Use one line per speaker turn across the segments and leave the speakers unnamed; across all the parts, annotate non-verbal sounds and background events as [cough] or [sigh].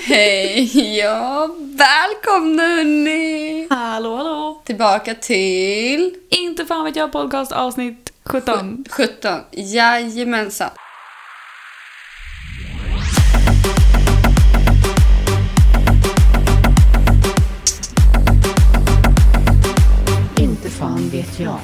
Hej! Ja, välkomna hörni!
Hallå hallå!
Tillbaka till...
Inte fan vet jag podcast avsnitt 17.
17. Jajamensan.
Inte fan vet jag.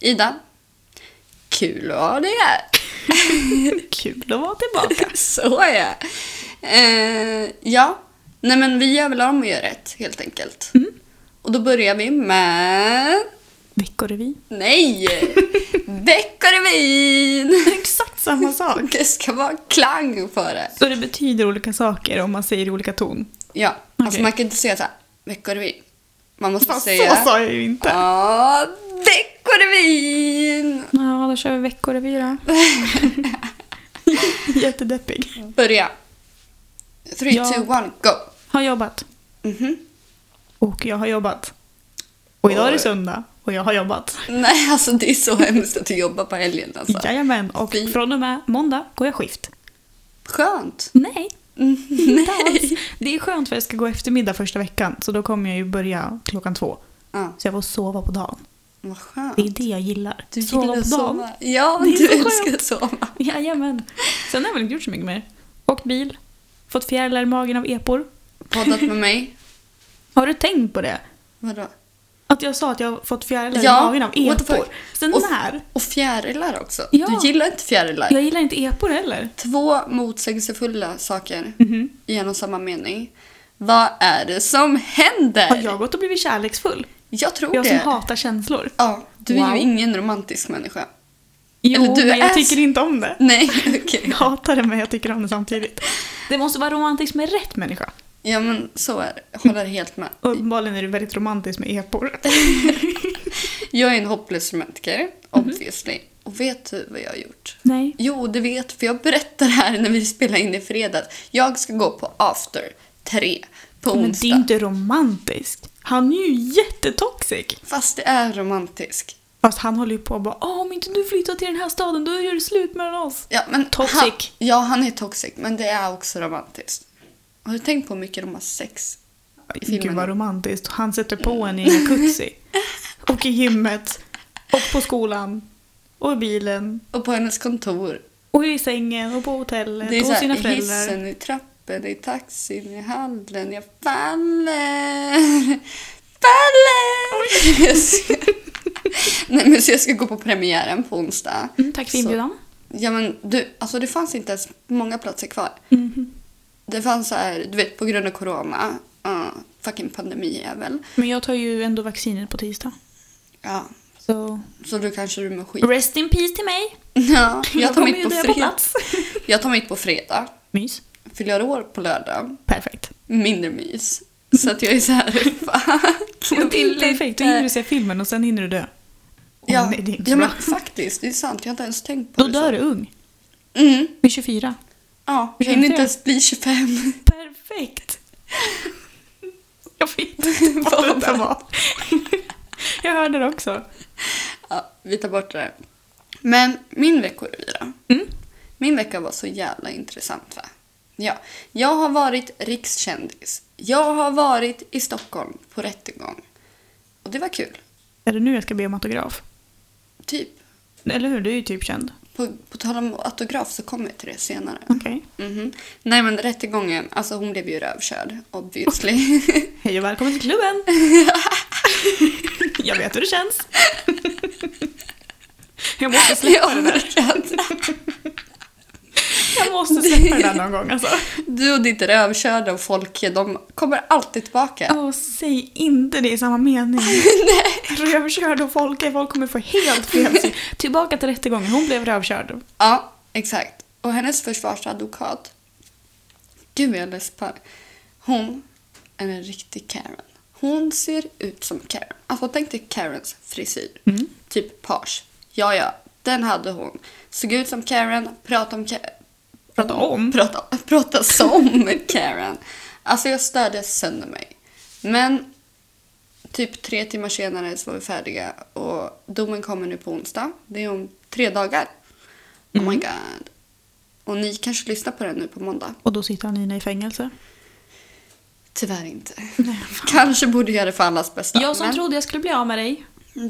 Ida, kul att ha dig här.
Kul att vara tillbaka.
[laughs] Så är jag. Eh, ja, nej men vi gör väl om och gör rätt helt enkelt.
Mm.
Och då börjar vi med...
Veckorevy. [laughs]
Nej! Veckorevyn!
Exakt samma sak.
Det ska vara klang på det.
Så det betyder olika saker om man säger i olika ton.
Ja, alltså
Okej.
man kan inte säga så här, veckorevyn. Man måste
Fan,
säga...
så sa jag ju inte.
Ja, veckorevyn!
Ja, då kör vi veckorevy då. Jättedeppig.
Börja. 3,
Ja.
2, 1, go!
Har jobbat.
Mhm.
Och jag har jobbat. Och idag är det
Oj.
söndag och jag har jobbat.
Nej, alltså det är så hemskt att du jobbar på helgen alltså.
Jajamän, och
Fy.
från och med måndag går jag skift.
Skönt.
Nej,
Mm,
inte
Nej.
alls. [laughs] Det är skönt för jag ska gå eftermiddag första veckan så då kommer jag ju börja klockan två.
Ja,
Så jag får sova på dagen.
vad skönt.
Det är det jag gillar.
Du
sova
gillar
på
att
dagen.
sova. Ja,
Det är
du
så skönt.
älskar att sova.
[laughs] Jajamän. Sen har jag väl inte gjort så mycket mer. Åkt bil, fått fjärilar i magen av epor.
Poddat med mig.
Har du tänkt på det? [laughs]
Vadå?
Att jag sa att jag har fått fjärilar
Ja,
i magen av
what the
epor.
fuck.
Sen
Och-
när?
Och fjärilar också.
Ja.
Du gillar inte fjärilar.
Jag gillar inte epor heller.
Två motsägelsefulla saker
Mm.
i en och samma mening. Vad är det som händer?
Har jag gått och blivit kärleksfull?
Jag tror
Jag
det.
som hatar känslor.
Ja, du är
Wow.
ju ingen romantisk människa.
Jo,
Eller du
men
är
jag
så-
tycker inte om det.
Nej, [laughs] okej.
Jag hatar det men jag tycker om det samtidigt. Det måste vara romantiskt med rätt människa.
Ja, men så är det. Håller helt med.
Och uppenbarligen är det väldigt romantiskt med epor.
Jag är en hopplös
Mhm.
romantiker, obviously. Och vet du vad jag har gjort?
[laughs] Nej.
Jo, det vet för jag berättar det här när vi spelar in i fredags. Jag ska gå på after tre på
Men
onsdag.
det är inte romantiskt. Han är ju jättetoxic.
Fast det är romantisk.
Fast han håller ju på och bara Åh, om inte du flyttar till den här staden då gör du slut mellan oss.
Ja, men
Toxic.
Han, ja, han är toxic, men det är också romantiskt. Har du tänkt på hur mycket de har sex? filmen.
Gud vad romantiskt. Han sätter på en i en jacuzzi.
[laughs]
Och i gymmet. Och på skolan. Och i bilen.
Och på hennes kontor.
Och i sängen och på hotellet.
Det är
och
så
sina
här, i
föräldrar.
hissen, Mm, i trappen, i taxin, i hallen. Jag [laughs] faller, faller! Yes. Nej men så jag ska gå på premiären på onsdag.
Mm, tack för
Så-
inbjudan.
Ja men du, alltså det fanns inte ens många platser kvar. Mm.
Mhm.
Det fanns så här, du vet på grund av corona, uh, fucking pandemijävel.
Men jag tar ju ändå vaccinet på tisdag.
Ja,
Så
så då kanske du mår
[laughs]
skit.
rest in peace till mig.
Ja, jag tar
kommer
mitt
ju
på
dö
fredag.
plats.
[laughs] Jag tar mitt på fredag.
Mys.
Fyller år på lördag.
Perfekt.
Mindre mys. Så att jag är så här, [laughs] fuck. jag
Det är
vill
perfekt. Då hinner du se filmen och sen hinner du dö. Åh,
Ja,
nej, det är inte
ja
bra.
men faktiskt, det är sant. Jag har inte ens tänkt på
Då
det.
dör
så.
du ung.
Mm,
Vid 24.
ja. Jag
Hur
hinner
känns
inte ens
det?
bli 25.
Perfekt! Jag vet inte [laughs] vad det där var. Jag hörde det också.
[laughs] Ja, vi tar bort det. Men min veckorevy då?
Mm.
Min vecka var så jävla intressant va? Ja, jag har varit rikskändis. Jag har varit i Stockholm på rättegång. Och det var kul.
Är det nu jag ska be om autograf?
Typ.
Eller hur? Du är ju typ känd.
På, på tal om autograf så kommer jag till det senare.
Okej.
Mhm. Nej men rättegången, alltså hon blev ju rövkörd
[laughs]
obviously.
Hej och välkommen till [laughs] klubben! Jag vet hur det känns. [laughs] Jag måste släppa
[laughs]
det där. Jag måste släppa det där någon gång alltså.
Du och ditt rövkörda och folk, de kommer alltid tillbaka.
Åh, säg inte det i samma [laughs] mening. Rövkörd och folk, folk kommer få helt fel [laughs] syn. Tillbaka till rättegången, hon blev rövkörd.
Ja, exakt. Och hennes försvarsadvokat, gud vad jag läspar. Hon är en riktig Karen. Hon ser ut som Karen. Alltså tänk dig Karens frisyr.
Mm.
Typ page. Ja, ja, den hade hon. Såg ut som Karen, pratade om Karen.
Prata om.
prata, prata som Karen. Alltså jag störde sönder mig. Men typ tre timmar senare så var vi färdiga och domen kommer nu på onsdag. Det är om tre dagar. Oh my god. Och ni kanske lyssnar på den nu på måndag.
Och då sitter Anina i fängelse.
Tyvärr inte.
Nej, fan.
Kanske borde göra det för allas bästa.
Jag som
men mm,
trodde jag skulle bli av med dig.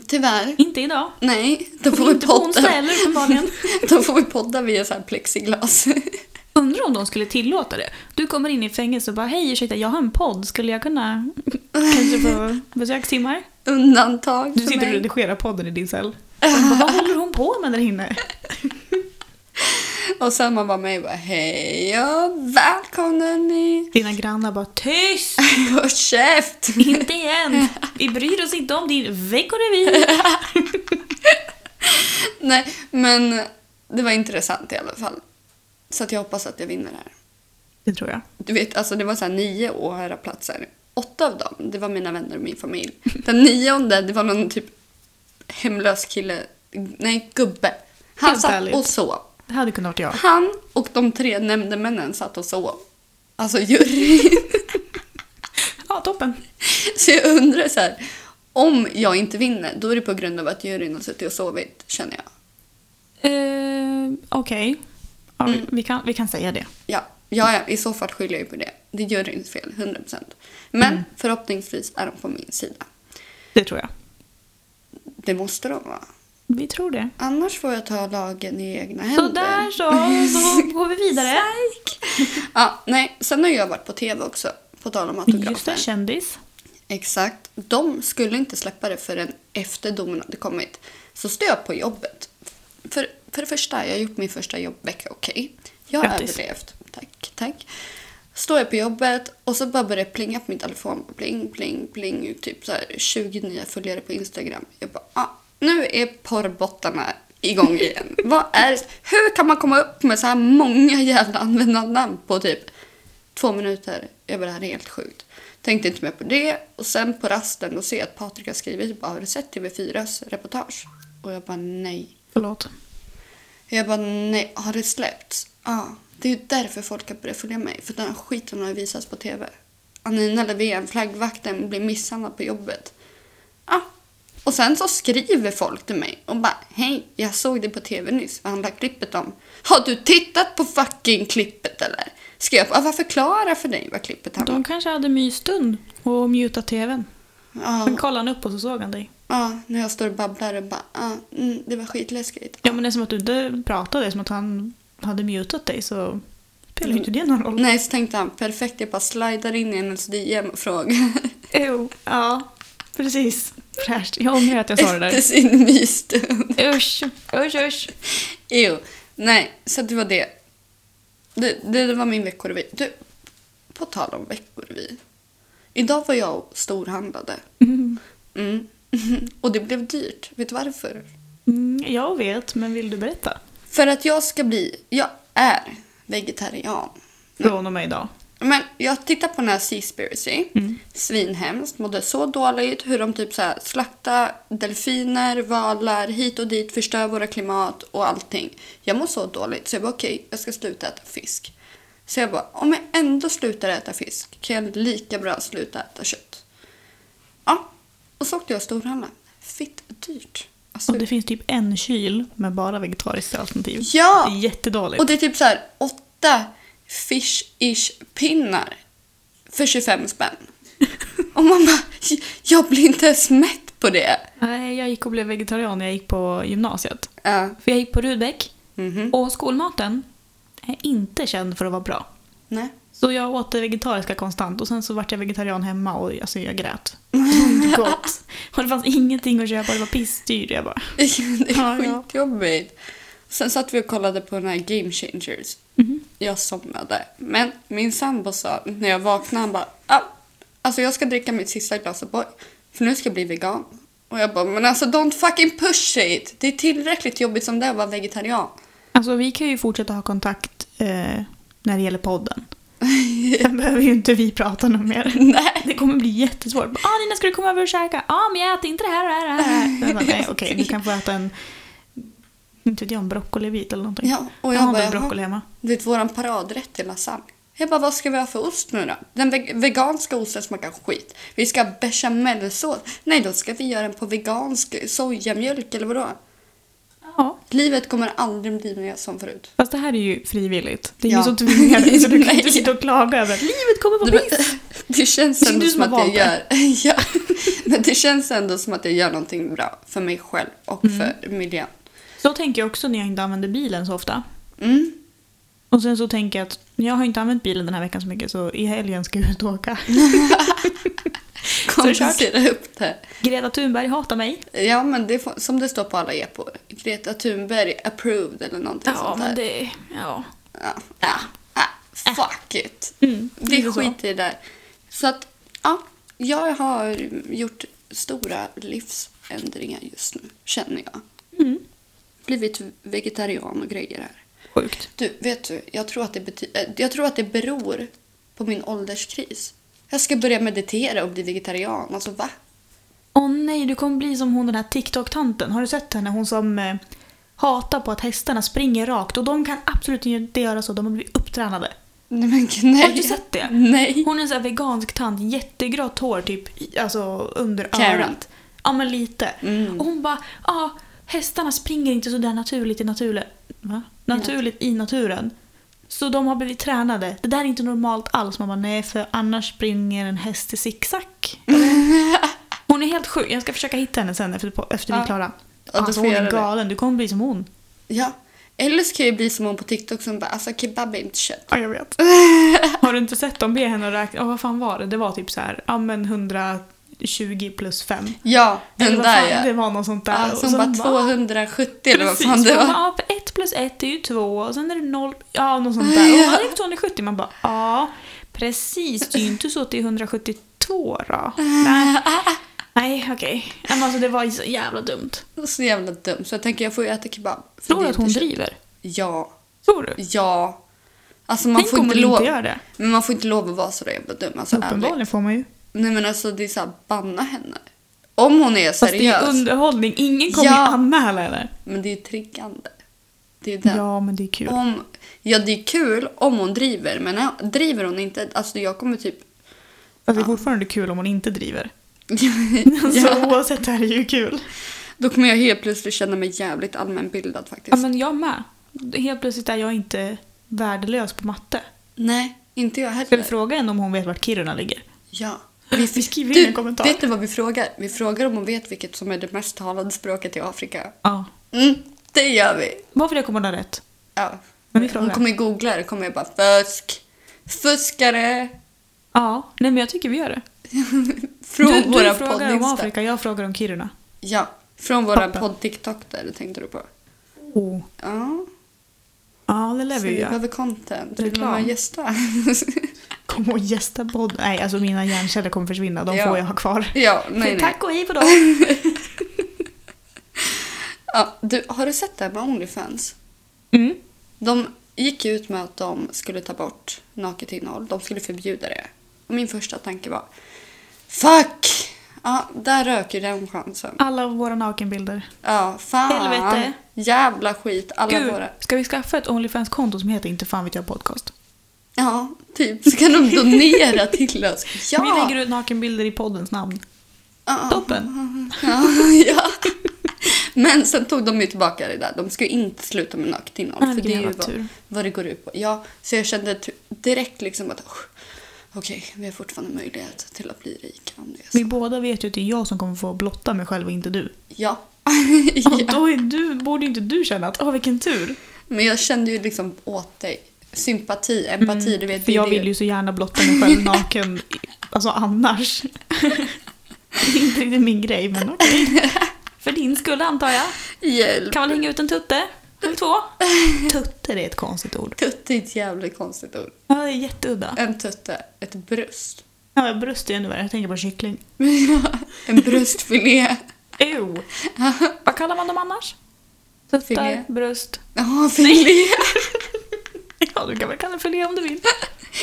Tyvärr.
Inte idag.
Nej, då får vi
Inte på onsdag
podda.
heller uppenbarligen.
[laughs] Då får vi podda via så här plexiglas. [laughs]
Undrar om de skulle tillåta det. Du kommer in i fängelse och bara hej ursäkta jag har en podd, skulle jag kunna kanske [laughs] få besökstimmar?
Undantag för
Du sitter och
mig.
redigerar podden i din cell. [laughs] Och bara, Vad håller hon på med där inne?
Och sen man bara med och bara hej och välkomna ni. [laughs]
Dina grannar bara tyst!
Håll käft! [laughs]
Inte igen! Vi bryr oss inte om din [laughs] veckorevy.
Nej, men det var intressant i alla fall. Så att jag hoppas att jag vinner det här.
Det tror jag.
Du vet, alltså det var så här nio åhörarplatser. Åtta av dem, det var mina vänner och min familj. Den nionde, det var någon typ hemlös kille. Nej, gubbe. Han
Helt
satt
ärligt.
och sov.
Det hade kunnat varit jag.
Han och de tre nämndemännen satt och sov. Alltså juryn. [laughs]
Ja, toppen.
Så jag undrar så här, om jag inte vinner, då är det på grund av att juryn har suttit och sovit, känner jag.
Eh, Okej. Ja, vi- vi, kan, vi kan säga det.
Ja, ja, ja i så fall skyller jag ju på det. Det är juryns fel, 100%. Men
Mm.
förhoppningsvis är de på min sida.
Det tror jag.
Det måste de vara.
Vi tror det.
Annars får jag ta lagen i egna händer.
Sådär så, [laughs] då går vi vidare.
[laughs] Ja, nej, sen har jag varit på tv också, på tal om
Just
autografen.
det, kändis.
Exakt. De skulle inte släppa det förrän efter domen hade kommit. Så stod jag på jobbet. För, för det första, jag har gjort min första jobbvecka okej. Jag har
Grattis.
överlevt. Tack, tack. Står jag på jobbet och så bara börjar det plinga på min telefon. Pling, pling, pling. Typ så här 20 nya följare på Instagram. Jag bara, ah, nu är porrbottarna igång igen. Vad är det? Hur kan man komma upp med så här många jävla användarnamn på typ Två minuter. Jag bara, det här är helt sjukt. Tänkte inte mer på det. Och sen på rasten då ser jag att Patrik har skrivit bara, har du sett TV4s reportage? Och jag bara, nej.
Förlåt.
Jag bara, nej, har det släppts? Ja. Det är ju därför folk har börjat följa mig. För den här skiten har ju visats på TV. Anina Löfven, flaggvakten, blir misshandlad på jobbet. Ja. Och sen så skriver folk till mig och bara, hej, jag såg det på TV nyss, vad handlar klippet om? Har du tittat på fucking klippet eller? Ska jag bara förklara för dig vad klippet handlar om?
De kanske hade mysstund och mutat tvn.
Ja,
Sen kollade han upp och så såg han dig.
ja, när jag står och babblar och bara, ah, mm, det var skitläskigt.
Ja men det är som att du inte pratade, det är som att han hade mutat dig så spelar ju inte det någon roll.
Nej, så tänkte han, perfekt, jag bara slidar in i hennes DM och frågar. [laughs]
Jo, ja. Precis. Fräscht. Jag ångrar att jag sa det
Efter
[laughs] där.
sin mysstund.
Usch, usch, usch.
[laughs] Jo, nej, så det var det. Det, det, det var min veckorevy. Du, på tal om veckorevy. Idag var jag och
[laughs]
storhandlade.
Mm.
Mm. [laughs] Och det blev dyrt. Vet du varför?
Mm, Jag vet, men vill du berätta?
För att jag ska bli... Jag är vegetarian.
Från och med idag.
Men jag tittar på den här Seaspiracy.
Mm.
Svinhemskt. Mådde så dåligt. Hur de typ så här slaktar delfiner, valar, hit och dit. Förstör våra klimat och allting. Jag mår så dåligt så jag bara okej, jag ska sluta äta fisk. Så jag bara, om jag ändå slutar äta fisk kan jag lika bra sluta äta kött. Ja, och så åkte jag och storhandlade. Fitt dyrt. Alltså,
Och det finns typ en kyl med bara vegetariskt alternativ.
Ja!
Det är jättedåligt.
Och det är typ så här åtta fish-ish pinnar för 25
[laughs]
spänn. Och man bara, "J- jag blir inte ens mätt på det.
Nej, jag gick och blev vegetarian när jag gick på gymnasiet.
Ja,
För jag gick på Rudbeck
mhm.
och skolmaten är inte känd för att vara bra.
Nej. [laughs]
Så jag åt det vegetariska konstant och sen så vart jag vegetarian hemma och alltså,
[laughs]
jag grät. Det var inte gott. Och det fanns ingenting att köpa, det var pissdyrt. Jag bara,
Det är
Ja, ja.
skitjobbigt. Sen satt vi och kollade på den här Game Changers.
Mhm.
Jag somnade. Men min sambo sa när jag vaknade, han bara ah, alltså jag ska dricka mitt sista glas O'boy för nu ska jag bli vegan. Och jag bara, men alltså don't fucking push it! Det är tillräckligt jobbigt som det är att vara vegetarian.
Alltså vi kan ju fortsätta ha kontakt eh, när det
[laughs]
gäller podden. Sen behöver ju inte vi prata något mer.
Nej.
Det kommer bli jättesvårt. Ja ah, Nina, ska du komma över och käka? Ja, ah, men jag äter inte det här och det här och det här.
[laughs]
Jag bara, Nej, okej, du kan få äta en, inte vet jag, en broccolivit eller någonting.
Ja, och
jag
jag
har
bara,
en broccoli
jaha.
hemma.
Det är våran paradrätt till lasagne. Jag bara, vad ska vi ha för ost nu då? Den ve- veganska osten smakar skit. Vi ska ha bechamelsås. Nej, då ska vi göra den på vegansk sojamjölk eller vadå?
Ja.
Livet kommer aldrig bli mer som förut.
Fast det här är ju frivilligt. Det är
Ja.
ju så tvingande så du
[laughs]
kan
Nej.
inte sitta och klaga över att livet kommer
Det,
vara
men-
piss.
[laughs] det känns
Det är
ändå
du
som
som
att
har
jag
valt
gör... [laughs] ja, men det känns ändå som att jag gör någonting bra för mig själv och
Mm.
för miljön.
Så tänker jag också när jag inte använder bilen så ofta.
Mm.
Och sen så tänker jag att jag har inte använt bilen den här veckan så mycket så i helgen ska jag ut och åka. det är klart.
Kompensera upp det.
Greta Thunberg hatar mig.
Ja, men det får, som det står på alla epor. Greta Thunberg approved eller någonting sånt där.
det... Ja.
Ja. Ah, ah, fuck it.
Mm,
Vi
lite så.
skiter i det där. Så att, ja. Jag har gjort stora livsändringar just nu, känner jag.
Mm.
Blivit vegetarian och grejer här.
Sjukt.
Du, vet du? Jag tror, att det bety- eh, jag tror att det beror på min ålderskris. Jag ska börja meditera och bli vegetarian. Alltså, va?
Åh nej, du kommer bli som hon den här TikTok-tanten. Har du sett henne? Hon som eh, hatar på att hästarna springer rakt och de kan absolut inte göra så. De har blivit upptränade.
Nej, men nej.
Har du sett det?
Nej.
Hon är en sån här vegansk tant, jättegrått hår typ i- alltså under
Karen.
örat. Ja men lite.
Mm.
Och hon bara, ja hästarna springer inte sådär naturligt i naturen. Va? Naturligt i naturen. Så de har blivit tränade. Det där är inte normalt alls. Man bara, nej för annars springer en häst
[laughs]
i zigzag. Hon är helt sjuk. Jag ska försöka hitta henne sen efter, på- efter vi
Ja.
är klara.
du
Alltså
får
hon
göra
är
det.
galen. Du kommer bli som hon.
Ja. Eller så kan jag bli som hon på TikTok som bara alltså kebab är inte kött.
Ja, jag vet.
[laughs]
Har du inte sett dem be henne att räkna? Oh, vad fan var det? Det var typ så här, ja men 120 plus 5.
Ja,
Eller
den
vad
där
fan, Det
ja.
var något sånt där.
ja
Och
som
så
bara 270 eller vad fan
Precis,
det var.
Ja, för 1 plus 1 är ju 2 och sen är det 0, ja något sånt där. Och
Ja.
man är 270, man bara ja, precis. Det är ju inte så att det är 172 då. Nej, Nej, okej. Okay. Alltså det var ju så jävla dumt.
Så jävla dum. Så jag tänker jag får ju äta kebab. för
Tror
det
du
är
att
inte
hon
kött.
driver?
Ja.
Tror du?
Ja. Alltså man
Tänk
får
om
inte
hon
lov.
inte gör det.
Men man får inte lov att vara så där jävla dum. Alltså ärligt.
Uppenbarligen får man ju.
Nej men alltså det är såhär banna henne. Om hon är
Fast det
seriös.
är underhållning. Ingen kommer
Ja.
ju anmäla henne.
Men det är ju triggande. Det är ju den.
Ja, men det är kul.
Om, ja det är kul om hon driver men när- driver hon inte, alltså jag kommer typ... [laughs]
Fast Alltså, det är fortfarande kul om hon inte driver.
ja.
[laughs] Så oavsett är det ju kul.
Då kommer jag helt plötsligt känna mig jävligt allmänbildad faktiskt.
Ja, men jag med. Helt plötsligt är jag inte värdelös på matte.
Nej, inte jag
Ska vi
heller.
fråga henne om hon vet vart Kiruna ligger?
Ja.
Vi skriver in en kommentar.
Vet du vad vi frågar? Vi frågar om hon vet vilket som är det mest talade språket i Afrika.
Ja.
Mm, det gör vi.
Bara för det kommer hon ha rätt.
Ja.
Men vi
Hon
frågar.
kommer googla det kommer jag bara fusk, fuskare,
Ja, nej men jag tycker vi gör det.
från
du
våra
du frågar om
podd-insta.
Afrika, jag frågar om Kiruna.
Ja, från våra
Toppen.
podd-tiktok där tänkte du på.
Oh.
Ja,
Ja, det lär
så
vi
vi
ju göra.
behöver content. Vill du
Reklam.
vara gästa? [laughs]
Kom och gästa podden. Nej, alltså mina hjärnceller kommer försvinna. De
Ja.
får jag ha kvar. [laughs]
ja, nej nej.
Tack och hej på dem.
Ja, du, har du sett det här med Onlyfans?
Mm.
De gick ju ut med att de skulle ta bort naket innehåll. De skulle förbjuda det. Och min första tanke var Fuck! Ja, där rök ju den chansen.
Alla våra nakenbilder.
Ja, fan.
Helvete.
Jävla skit. Alla
Gud,
våra.
ska vi skaffa ett Onlyfans-konto som heter Inte fan vet jag podcast?
Ja, typ. Så kan de donera till oss. Ja!
Vi lägger ut nakenbilder i poddens namn.
Ja.
Toppen!
Ja, [laughs] ja. Men sen tog de ju tillbaka det där. De ska ju inte sluta med naket innehåll.
Nej,
för det
vilken
är ju
jävla
vad,
tur.
vad det går ut på. Ja, så jag kände ty- direkt liksom att "Usch, okej, vi har fortfarande möjlighet till att bli rika om det är så."
Vi båda vet ju att det är jag som kommer få blotta mig själv och inte du.
Ja.
Och
[laughs] ja. Mm.
då är du, borde ju inte du känna att åh vilken tur.
Men jag kände ju liksom åt dig. Sympati, empati, du vet.
Mm, För
det är
jag
det.
vill ju så gärna blotta mig
[laughs]
själv naken, alltså annars. [laughs] Det är inte riktigt min grej men okej.
[laughs]
För din skull antar jag.
Hjälp.
Kan man hänga ut en tutte? Eller
[laughs]
två? Tutte det är ett konstigt ord.
Tutte är ett jävligt konstigt ord.
Ja, det är jätteudda.
En tutte, ett bröst.
Ja, bröst är ännu värre, jag tänker på kyckling.
En
[laughs]
bröstfilé.
Ew. Vad kallar man dem annars?
Filé.
Tuttar, bröst.
Ja, filé.
Ja, du kan väl kalla det filé om du vill.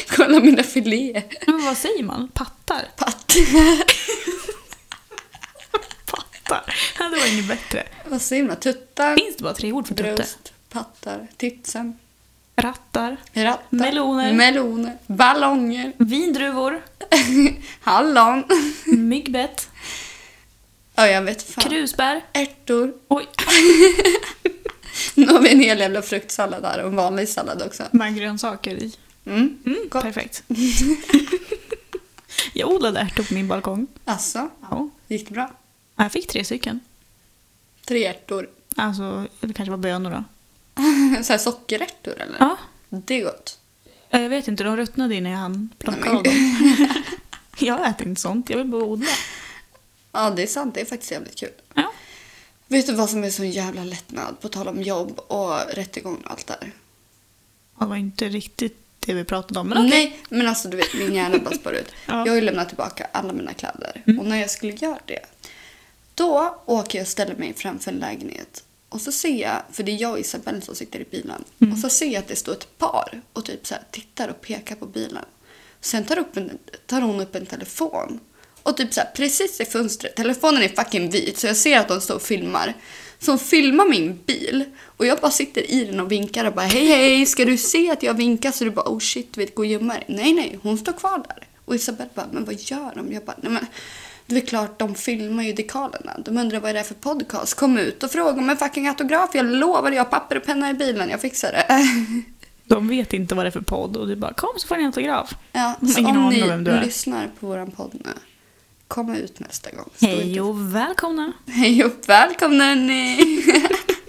Kolla mina filéer.
Men vad säger man? Pattar?
Patt.
Pattar? Ja, det var inget bättre.
Vad säger man? Tuttar,
Finns det bara tre ord för tutte?
bröst, pattar, titsen.
rattar,
Rattar.
Meloner.
Meloner. Ballonger. [laughs]
vindruvor,
Hallon.
myggbett,
Ja, jag vet fan.
krusbär.
Ärtor.
Oj,
Nu har vi en hel jävla fruktsallad här och en vanlig sallad också.
med grönsaker i.
Mm.
Mm,
Gott.
perfekt. jag odlade ärtor på min balkong.
Alltså,
Ja.
gick det bra?
Jag fick tre stycken.
Tre ärtor. [laughs]
Alltså, det kanske var bönor då.
Så här sockerärtor eller?
Ja.
Det är gott.
Eh, Jag vet inte, de ruttnade innan jag hann plocka
Nej, men-
av dem. [laughs] jag äter inte sånt, jag vill bara odla.
Ja, det är sant. Det är faktiskt jävligt kul.
Ja.
Vet du vad som är så jävla lättnad? På tal om jobb och rättegång och allt där.
Det var inte riktigt det vi pratade om, men okej.
Nej, men alltså du vet, min hjärna bara spår ut.
[laughs] Ja. Mm.
Jag har ju lämnat tillbaka alla mina kläder. Och när jag skulle göra det, då åker jag och ställer mig framför en lägenhet. Och så ser jag, för det är jag och Isabelle som sitter i bilen. Och så ser jag att det står ett par och typ så här tittar och pekar på bilen. Sen tar, upp en, tar hon upp en telefon. Och typ så här, precis i fönstret, telefonen är fucking vit så jag ser att de står och filmar. Så hon filmar min bil och jag bara sitter i den och vinkar och bara hej hej ska du se att jag vinkar så du bara oh shit vet gå och gömma dig. Nej nej hon står kvar där. Och Isabelle bara men vad gör de? Jag bara nej men det är klart de filmar ju dekalerna. De undrar vad är det är för podcast. Kom ut och fråga om en fucking autograf. Jag lovar jag har papper och penna i bilen. Jag fixar
[laughs]
det.
De vet inte vad det är för podd och du bara kom så får ni en autograf.
Ja,
De har
så
ingen
om
aning
ni
om vem du är.
lyssnar på våran podd nu, kom ut nästa gång. Stå
Hej
inte-
och välkomna!
Hej och [laughs] välkomna ni! [laughs]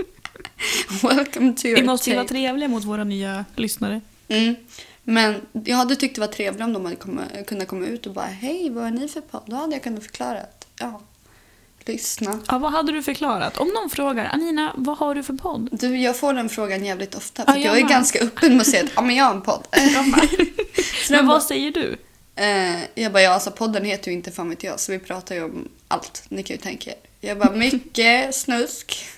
Welcome to your
Vi måste ju vara
tape.
trevliga mot våra nya lyssnare.
mm. Men jag hade tyckt det var trevligt om de hade komma, kunnat komma ut och bara hej vad är ni för podd? Då hade jag kunnat förklara att ja, lyssna.
Ja, vad hade du förklarat? Om någon frågar Anina, vad har du för podd? [laughs]
Du, jag får den frågan jävligt ofta.
Ja,
För att
jag
jag är
med.
ganska öppen med att säga att ja, men jag har en podd. Så
Men
de
vad säger du?
Eh, jag bara, ja alltså podden heter ju inte Fan vet jag så vi pratar ju om allt. Ni kan ju tänka er. Jag bara,
[laughs]
mycket snusk. [laughs]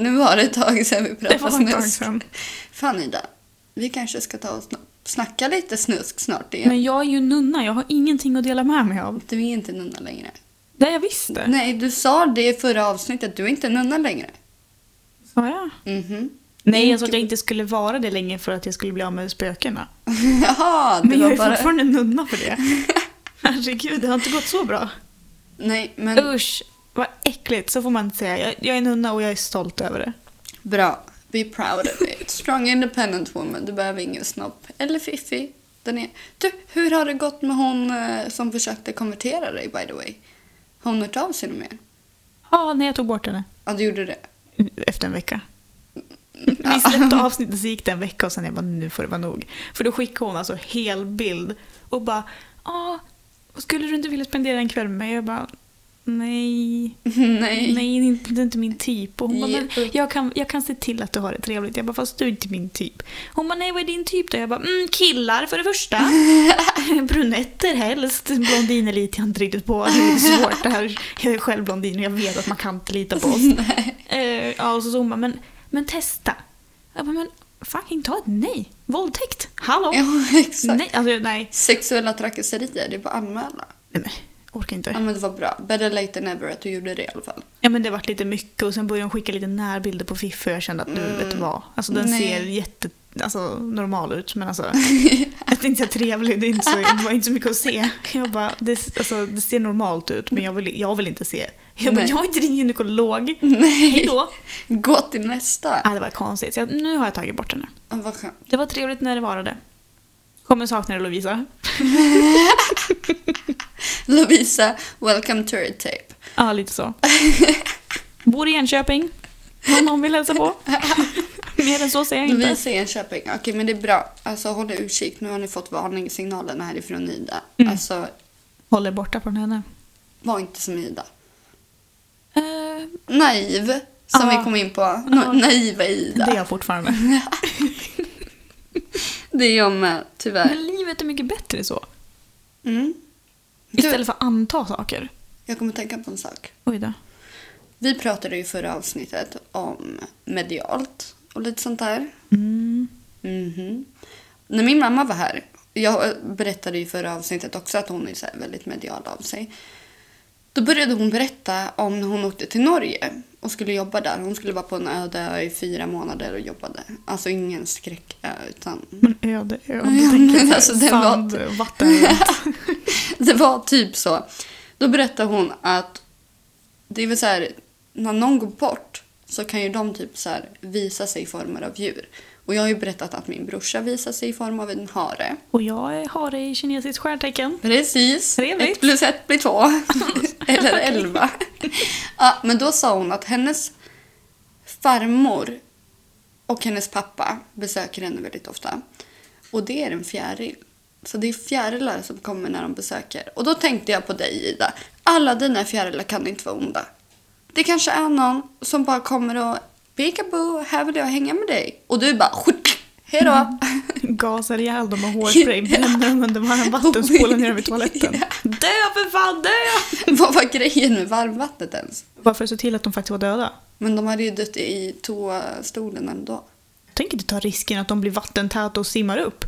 nu var det ett tag sedan vi
Det var
pratade
ett tag
snusk.
sedan.
Fan Ida, vi kanske ska ta och sn- snacka lite snusk snart igen.
Men jag är ju nunna, jag har ingenting att dela med mig av.
Du är inte nunna längre.
Det har jag visst det.
Nej, du sa det i förra avsnittet, du är inte nunna längre.
Sa jag?
Mhm. [laughs]
Nej, jag sa alltså att jag inte skulle vara det länge för att jag skulle bli av med spökena.
Jaha, det
Men jag
var
är
bara...
fortfarande nunna
[laughs]
för det. Herregud, det har inte gått så bra.
Nej, men
Usch, vad äckligt. Så får man inte säga. Jag, jag är nunna och jag är stolt över det.
bra. Be proud of it. Strong independent woman. Du behöver ingen snopp. Eller fiffi. Den är... Du, hur har det gått med hon eh, som försökte konvertera dig by the way? Har hon hört av sig något mer?
Ja, nej, jag tog bort henne.
Ja, du gjorde det. [laughs]
Efter en vecka.
Mm,
Vi släppte avsnittet så gick det en vecka och sen jag bara nu får det vara nog. För då skickade hon alltså hel bild och bara ja, skulle du inte vilja spendera en kväll med mig? Jag bara nej,
Nej.
nej, det är inte- det är inte min typ. Och hon bara, men
Ja.
jag kan, jag kan se till att du har det trevligt. Jag bara fast du är inte min typ. Hon bara nej, vad är din typ då? Jag bara mm, killar för det första.
[laughs]
Brunetter helst. Blondiner litar jag inte riktigt på. Det är lite svårt det här. Jag är själv blondin och jag vet att man kan inte lita på oss. Eh, ja, och så, så hon bara, men, men testa. Jag bara, men fucking ta ett nej. Våldtäkt. Hallå?
[laughs] Ja, exakt.
nej, alltså nej.
Sexuella trakasserier, det är bara att anmäla.
nej men, orkar inte.
Ja, men det var bra. Better late than never att du gjorde det i alla fall.
Ja men det vart lite mycket och sen började hon skicka lite närbilder på Fiffi och jag kände att nu vet du vad. Alltså den
Mm. Nej.
ser jätte, alltså, normal ut
[laughs]
men alltså. jag tänkte säga trevlig, det, är inte så, det var inte så mycket att se. Jag bara, det, alltså, det ser normalt ut men jag vill, jag vill inte se. Jag, bara,
Nej.
jag är inte din gynekolog.
[laughs] Nej.
Hej då. Ah.
Gå till nästa.
Ja, det var konstigt, så jag, nu har jag tagit bort henne.
Ja, vad skönt.
Det var trevligt när det varade. Kommer sakna dig Lovisa.
Lovisa, welcome to your tape.
Ja,
[laughs]
lite så. Bor i Enköping. Om någon vill
[laughs]
hälsa på. Mer än så säger jag inte.
Lovisa i Enköping. Okej, men det är bra. Alltså håll utkik. Nu har ni fått varningssignalerna härifrån Ida.
Mm.
Alltså,
Håller borta från henne.
var inte som Ida.
Eh,
Naiv, som
Ja.
vi kom in på. Na- Naiva Ida.
Det är
Det.
jag [laughs] fortfarande.
är jag med, tyvärr.
Men livet är mycket bättre så.
Mm. Du,
Istället för att anta saker.
jag kommer tänka på en sak.
Oj då.
Vi pratade ju i förra avsnittet om medialt och lite sånt där.
Mm.
Mhm. När min mamma var här, jag berättade i förra avsnittet också att hon är så här väldigt medial av sig. Då började hon berätta om när hon åkte till Norge och skulle jobba där. Hon skulle vara på en öde ö i fyra månader och jobbade. Alltså ingen skräckö utan [laughs]
Men öde ö.
Ja,
Ja,
men
men
alltså,
alltså,
det
sand, [laughs] vatten.
det var typ så. Då berättade hon att det är väl så här, när någon går bort så kan ju de typ så här visa sig i former av djur. Och jag har ju berättat att min brorsa visar sig i form av en hare.
Och jag har det i kinesiskt stjärntecken.
Precis.
Trevligt.
Ett plus ett blir två. Eller elva. Ja, men då sa hon att hennes farmor och hennes pappa besöker henne väldigt ofta. Och det är en fjäril. Så det är fjärilar som kommer när de besöker. Och då tänkte jag på dig Ida. Alla dina fjärilar kan inte vara onda. Det kanske är någon som bara kommer och Peekaboo, här vill jag hänga med dig. Och du bara hej då.
Gasar ihjäl dem [laughs] med hårspray. Bränner dem under varm vatten. Spolar ner dem i [laughs] toaletten.
Ja.
Dö för fan, dö!
[laughs] Vad var grejen med varmvattnet ens?
Bara för att se till att de faktiskt var döda.
Men de hade ju dött i toastolen ändå.
Jag tänker inte ta risken att de blir vattentäta och simmar upp.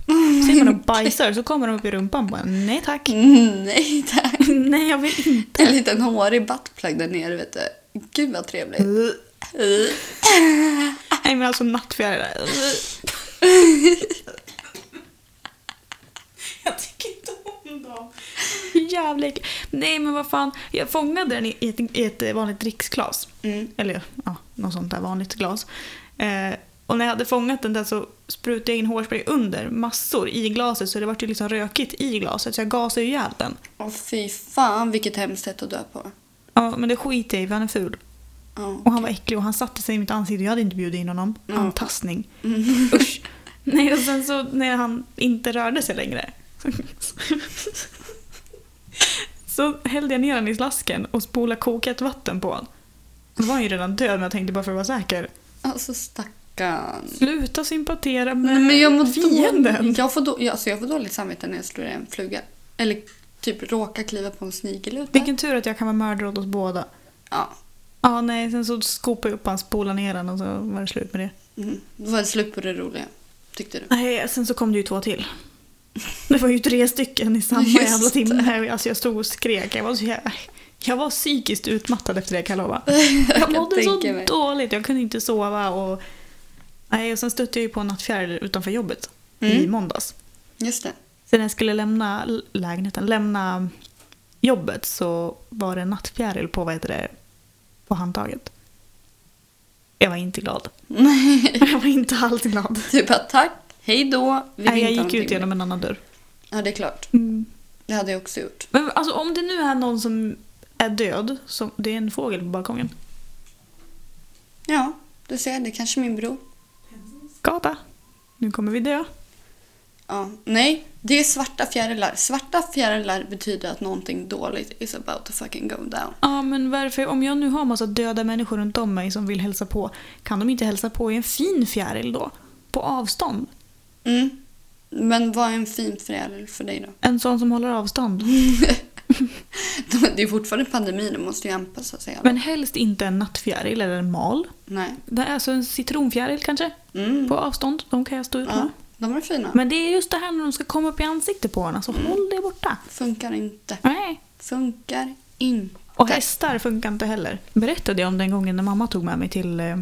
Simmar [laughs] och bajsar så kommer de upp i rumpan bara nej
[laughs]
tack.
Mm, nej tack.
[laughs] Nej jag vill inte.
En liten hårig buttplug där nere vet du. Gud vad
Mm.
trevligt.
Nej men alltså nattfjärilar. Jag tycker inte om dem. Jävligt. Nej men vad fan. Jag fångade den i ett, i ett vanligt dricksglas.
Mm.
Eller ja, något sånt där vanligt glas. Eh, och när jag hade fångat den där så sprutade jag in hårspray under massor i glaset så det vart ju liksom rökigt i glaset så jag gasade ju ihjäl den.
Åh fy fan vilket hemskt sätt att dö på.
Ja men det skiter jag i för han är ful.
Ja.
Och han var äcklig och han satte sig i mitt ansikte. Jag hade inte bjudit in honom.
Mm.
Antastning. Usch. Nej och sen så när han inte rörde sig längre. Så hällde jag ner honom i slasken och spolade kokat vatten på honom. Då var han ju redan död men jag tänkte bara för att vara säker.
[laughs] Alltså stackarn.
Sluta sympatera med
Nej, men jag mår
fienden.
dåligt. Jag får, då, jag, alltså, jag får dåligt samvete när jag slår i en fluga. Eller typ råkar kliva på en snigelluta.
Vilken tur att jag kan vara mördare åt oss båda.
Ja.
Ja nej, sen så skopade jag upp honom, spolade ner honom och så var det slut med det.
Mm. Då var det slut på det roliga. Tyckte du.
Nej, sen så kom det ju två till. Det var ju tre stycken i samma
Just
jävla
det.
timme. Alltså jag stod och skrek. Jag var, så jävla, jag var psykiskt utmattad efter det kan jag
[laughs]
lova. Jag mådde
tänker
så
mig.
dåligt. Jag kunde inte sova. Och, nej, och sen stötte jag ju på en nattfjäril utanför jobbet i
Mm.
måndags.
Just [laughs] det.
Sen när jag skulle lämna l- lägenheten, lämna jobbet så var det en nattfjäril på, vad heter det, på handtaget. Jag var
[laughs]
inte glad. Jag var inte alls glad.
Du Typ bara tack, hej då. vill inte
Nej, jag
ha
gick
någonting
ut genom en annan dörr.
med. Ja det är klart. Det hade jag också gjort.
Men alltså om det nu är någon som är död, så det är en fågel på balkongen.
Ja, du ser, det är kanske min bror.
Skada. Nu kommer vi dö.
Ja, nej, det är svarta fjärilar. Svarta fjärilar betyder att någonting dåligt is about to fucking go down.
Ja men varför, om jag nu har massa döda människor runt om mig som vill hälsa på, kan de inte hälsa på i en fin fjäril då? På avstånd?
Mm. Men vad är en fin fjäril för dig då? [laughs]
En sån som håller avstånd.
Det är fortfarande pandemi, de måste ju anpassa sig. alla.
Men helst inte en nattfjäril eller en mal.
Nej.
Det är alltså en citronfjäril kanske,
Mm.
på avstånd. De kan jag stå ut med.
Ja, de är fina.
Men det är just det här när de ska komma upp i ansiktet på en, alltså håll dig borta.
Funkar inte.
Nej.
Funkar inte.
Och hästar funkar inte heller. Berättade jag om den gången när mamma tog med mig till, eh,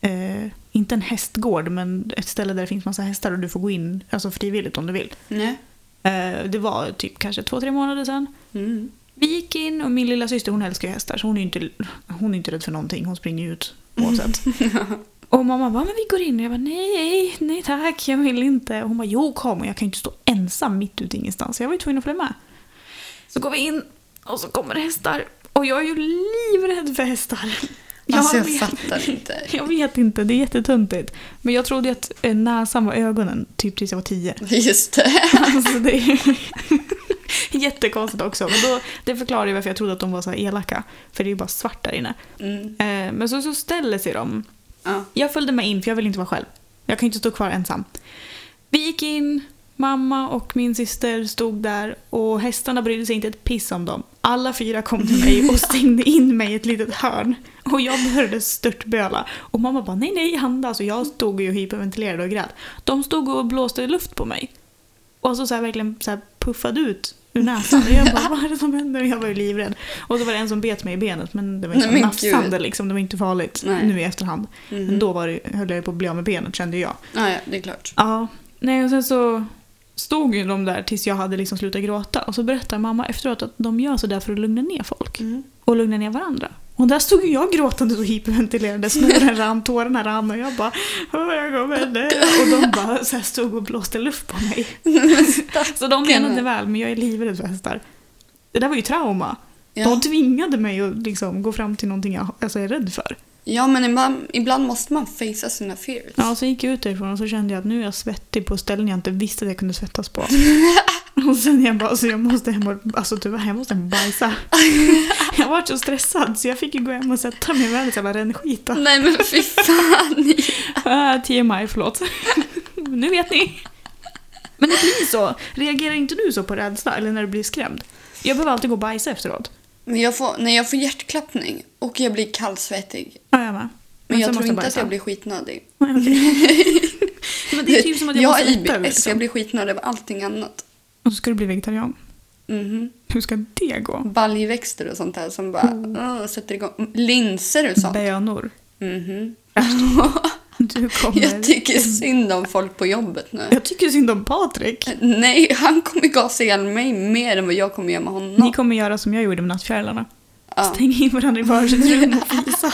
eh, inte en hästgård, men ett ställe där det finns massa hästar och du får gå in alltså frivilligt om du vill.
Nej.
Eh, det var typ kanske två, tre månader sedan.
Mm.
Vi gick in och min lilla syster hon älskar ju hästar så hon är ju inte, hon är inte rädd för någonting, hon springer ju ut
[laughs]
oavsett. Och mamma bara, men vi går in. Och jag bara, nej, nej tack, jag vill inte. Och hon bara, jo kom. Och jag kan ju inte stå ensam mitt ute i ingenstans. Så jag var ju tvungen att följa med. Så går vi in och så kommer det hästar. Och jag är ju livrädd för hästar.
Alltså jag
vet-
fattar inte.
jag vet inte, det är jättetöntigt. Men jag trodde ju att eh, näsan var ögonen, typ tills jag var tio.
[laughs] Just det.
[laughs] Alltså det är jättekonstigt också. Men då, det förklarar ju varför jag trodde att de var så här elaka. För det är ju bara svart där inne.
Mm.
Eh, men så, så ställer sig de.
Ja.
Jag följde med in för jag vill inte vara själv. Jag kan ju inte stå kvar ensam. Vi gick in, mamma och min syster stod där och hästarna brydde sig inte ett piss om dem. Alla fyra kom till mig
[laughs]
och stängde in mig i ett litet hörn. Och jag började störtböla. Och mamma bara nej nej andas och jag stod ju och alltså, hyperventilerade och grät. De stod och blåste luft på mig. Och så, så här verkligen så här puffade ut ur näsan. Och jag bara, vad är det som händer? Och jag var ju livrädd. Och så var det en som bet mig i benet men det var ju
Nej,
så
men
nafsande
gud.
liksom. Det var inte farligt
Nej.
nu i efterhand. Men
Mhm.
då var det, höll jag ju på att bli av med benet kände jag.
Ja, ja, det är klart.
Ja, nej och sen så stod ju de där tills jag hade liksom slutat gråta. Och så berättar mamma efteråt att de gör sådär för att lugna ner folk.
Mm.
Och lugna ner varandra. Och där stod ju jag gråtandes och hyperventilerade. Snoren rann, tårarna rann och jag bara "Åh, jag kommer dö. Och de bara så här stod och blåste luft på mig. så de menade väl, men jag är livrädd för hästar. Det där var ju trauma.
Ja.
De tvingade mig att liksom gå fram till någonting jag alltså, är rädd för.
ja, men ibland, ibland måste man facea sina fears.
Ja, så gick jag ut därifrån och så kände jag att nu är jag svettig på ställen jag inte visste att jag kunde
[laughs]
svettas på. och sen jag bara, alltså jag måste hem och, alltså tyvärr, jag måste hem
[laughs]
och bajsa. jag var så stressad så jag fick ju gå hem och sätta mig i världens jävla
[laughs]
rännskit. då.
Nej men fy fan. [laughs]
Ah, TMI, förlåt. [laughs] nu vet ni. Men det blir så. Reagerar inte du så på rädsla eller när du blir skrämd? Jag behöver alltid gå och bajsa efteråt.
Men jag får, när jag får hjärtklappning och jag blir kallsvettig.
Ja, jag med.
Men jag tror
sen måste
inte
bajsa.
att jag blir skitnödig. [laughs]
Nej, okej. Men det är typ som att jag,
jag
måste
har
äta ur,
IBS, jag
liksom.
blir skitnödig av allting annat.
Och så ska du bli vegetarian.
Mhm.
Hur ska det gå?
Baljväxter och sånt där som bara
Mm.
åh, sätter igång. Linser och sånt.
Bönor.
Mhm.
Du
[laughs]
kommer...
Jag tycker synd om folk på jobbet nu.
Jag tycker synd om Patrik.
Nej, han kommer gasa ihjäl mig mer än vad jag kommer göra med honom.
Ni kommer göra som jag gjorde med nattfjärilarna.
ja.
Stäng in varandra
[laughs]
i varsitt rum och fisa.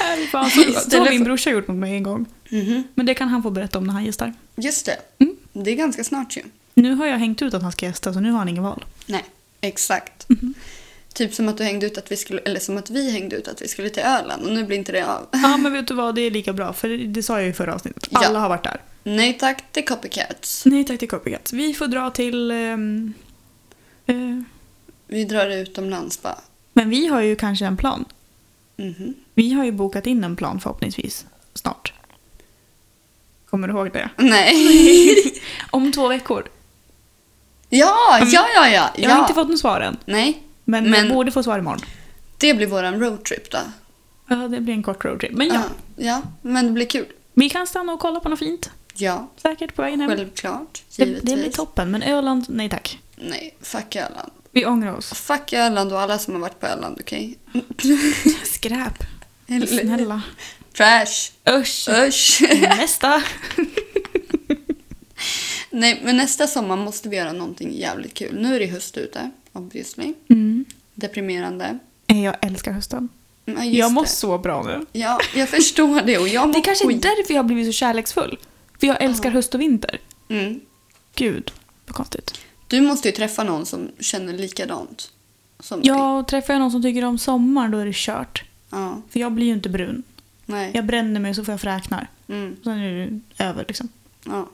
Här är fan, så, så har
Istället
min
för-
brorsa gjort mot mig en gång.
Mhm.
Men det kan han få berätta om när han gästar.
Just det.
Mm.
Det är ganska snart ju.
Nu har jag hängt ut att han ska gästa så nu har han ingen val.
Nej, exakt.
Mhm.
Typ som att du hängde ut att vi skulle, eller som att vi hängde ut att vi skulle till Öland och nu blir inte det av. [laughs]
Ja men vet du vad, det är lika bra för det sa jag ju i förra avsnittet.
Ja.
Alla har varit där.
Nej tack, det är copycats.
Nej tack till Copycat. Vi får dra till... ehm, eh,
Vi drar utomlands bara.
men vi har ju kanske en plan.
Mhm.
Vi har ju bokat in en plan förhoppningsvis snart. Kommer du ihåg det? [laughs]
Nej.
Om två veckor.
ja, ja, ja, ja.
Jag har
ja.
inte fått något svar än.
Nej,
Men,
Men-
jag borde få svar imorgon.
det blir våran roadtrip då.
Ja, det blir en kort roadtrip. Men ja,
Ja, ja, men det blir kul.
vi kan stanna och kolla på något fint.
Ja,
Säkert på vägen hem.
självklart.
det,
Givetvis.
det blir toppen. Men Öland, nej tack.
Nej, fuck Öland.
Vi ångrar
[laughs]
oss.
Fuck Öland och alla som har varit på Öland, okej?
Skräp.
Eller-
Snälla.
Trash.
Usch.
[laughs] Usch.
Nästa.
Nej, men nästa sommar måste vi göra någonting jävligt kul. Nu är det höst ute, obviously.
Mm.
Deprimerande.
Eh, Jag älskar hösten.
Ja, just
Jag mår så bra nu.
Det. Ja, jag förstår det och jag mår
[laughs] Det kanske är
skit.
därför jag har blivit så kärleksfull. För jag älskar höst och vinter.
Mm.
Gud, vad konstigt.
Du måste ju träffa någon som känner likadant som dig.
Ja, och träffar jag någon som tycker om sommar då är det kört.
Ja.
För jag blir ju inte brun.
Nej.
Jag bränner mig så får jag fräknar.
Mm.
Sen är det över liksom.
Ja.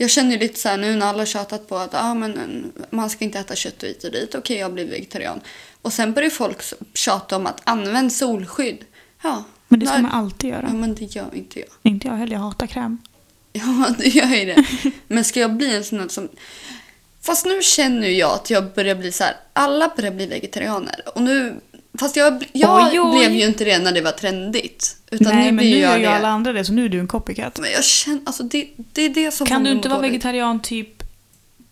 Jag känner ju lite så här nu när alla har tjatat på att ah, men, eh, man ska inte äta kött och hit och dit. Okej, jag blir vegetarian. Och sen börjar folk s- tjata om att använd solskydd. Ja,
Men det ska
där-
man alltid göra.
ja men det gör inte jag. [laughs]
Inte jag heller, jag hatar kräm.
Ja, det gör ju det.
[laughs]
Men ska jag bli en sån här som... Fast nu känner ju jag att jag börjar bli så här. Alla börjar bli vegetarianer. Och nu... Fast jag, jag
Oj, oj.
blev ju inte det när det var trendigt. Utan nu
Nej, men
blir
nu gör
jag
ju
det.
alla andra det så nu är du en copycat.
Men jag känner, alltså det, det är det som
Kan
håller
du
mig
inte vara
dåligt.
vegetarian typ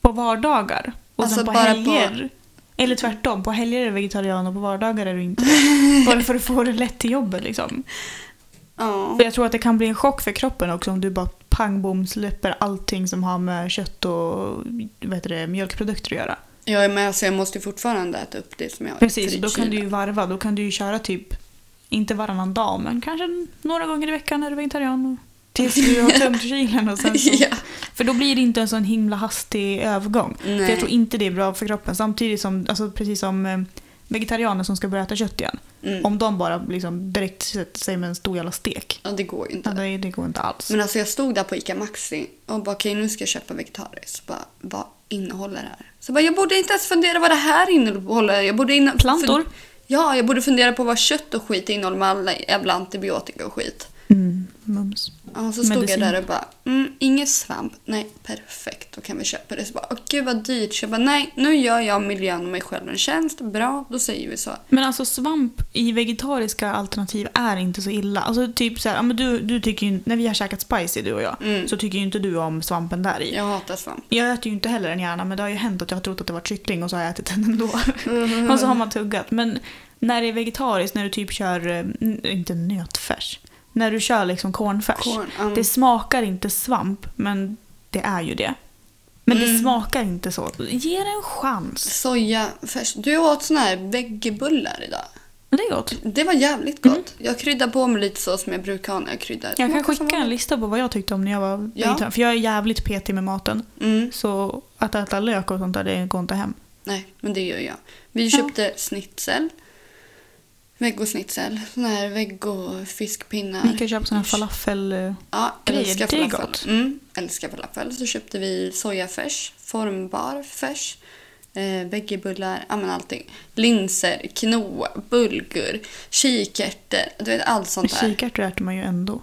på vardagar? Och
Alltså,
sen på
bara på-
helger? Eller tvärtom, på helger är du vegetarian och på vardagar är
[laughs]
du inte Bara för att få det lätt till jobbet liksom.
Ja.
För jag tror att det kan bli en chock för kroppen också om du bara pang bom släpper allting som har med kött och vad heter det, mjölkprodukter att göra.
Jag är med så alltså, jag måste ju fortfarande äta upp det som jag har i
Precis, och då kan
frikylaren.
du ju varva. Då kan du ju köra typ, inte varannan dag, men kanske några gånger i veckan är du vegetarian. och- Tills du
[laughs]
har tömt kylen och sen så
ja.
För då blir det inte en sån himla hastig övergång. För
Nej.
jag tror inte det är bra för kroppen. Samtidigt som, alltså precis som eh, vegetarianer som ska börja äta kött igen.
Mm.
Om de bara liksom direkt sätter sig med en stor jävla stek.
Ja, det går ju
Ja,
inte.
det, det går inte alls.
Men alltså jag stod där på ICA Maxi och bara okej nu ska jag köpa vegetariskt. Så bara vad innehåller det här? Så bara jag borde inte ens fundera vad det här innehåller. Jag borde inna-
Plantor.
fun- ja, jag borde fundera på vad kött och skit innehåller med alla jävla antibiotika och skit.
Mm, mums.
Ja, så stod
Medicin.
jag där och bara, mm, inget svamp, nej perfekt, då kan vi köpa det. Så bara, åh gud vad dyrt. Så jag bara, nej nu gör jag miljön och mig själv en tjänst, bra, då säger vi så.
Men alltså svamp i vegetariska alternativ är inte så illa. Alltså typ så här, ja, men du, du tycker ju, när vi har käkat spicy du och jag,
Mm.
så tycker ju inte du om svampen där i.
Jag hatar svamp.
Jag äter ju inte heller den gärna men det har ju hänt att jag har trott att det var kyckling och så har jag ätit den ändå.
Mm.
[laughs] och så har man tuggat. Men när det är vegetariskt, när du typ kör, eh, n- inte nötfärs, när du kör liksom kornfärs.
Korn, um,
Det smakar inte svamp men det är ju det. Men det
Mm.
smakar inte så. Ge det en chans.
Sojafärs. Du åt såna här veggiebullar idag.
Men det är gott.
Det var jävligt gott. Jag kryddar på med lite så som jag brukar ha när jag kryddar.
Mm. Jag kan
Smakar som
skicka en lista på vad jag tyckte om när jag var
Ja.
vegetarian. För jag är jävligt petig med maten.
vanligt. Mm.
Så att äta lök och sånt där, det går inte hem.
Nej, men det gör jag. Vi
Ja.
köpte schnitzel. Veggosnitzel. Såna här veggofiskpinnar.
Ni kan köpa såna här falafel... eh,
Ja,
grejer.
älskar
Det är
falafel.
gott.
Mm, älskar falafel. Så köpte vi sojafärs, formbar färs, eh, veggiebullar, ja men allting. Linser, quinoa, bulgur, kikärtor. Du vet allt sånt där.
Kikärtor äter man ju ändå.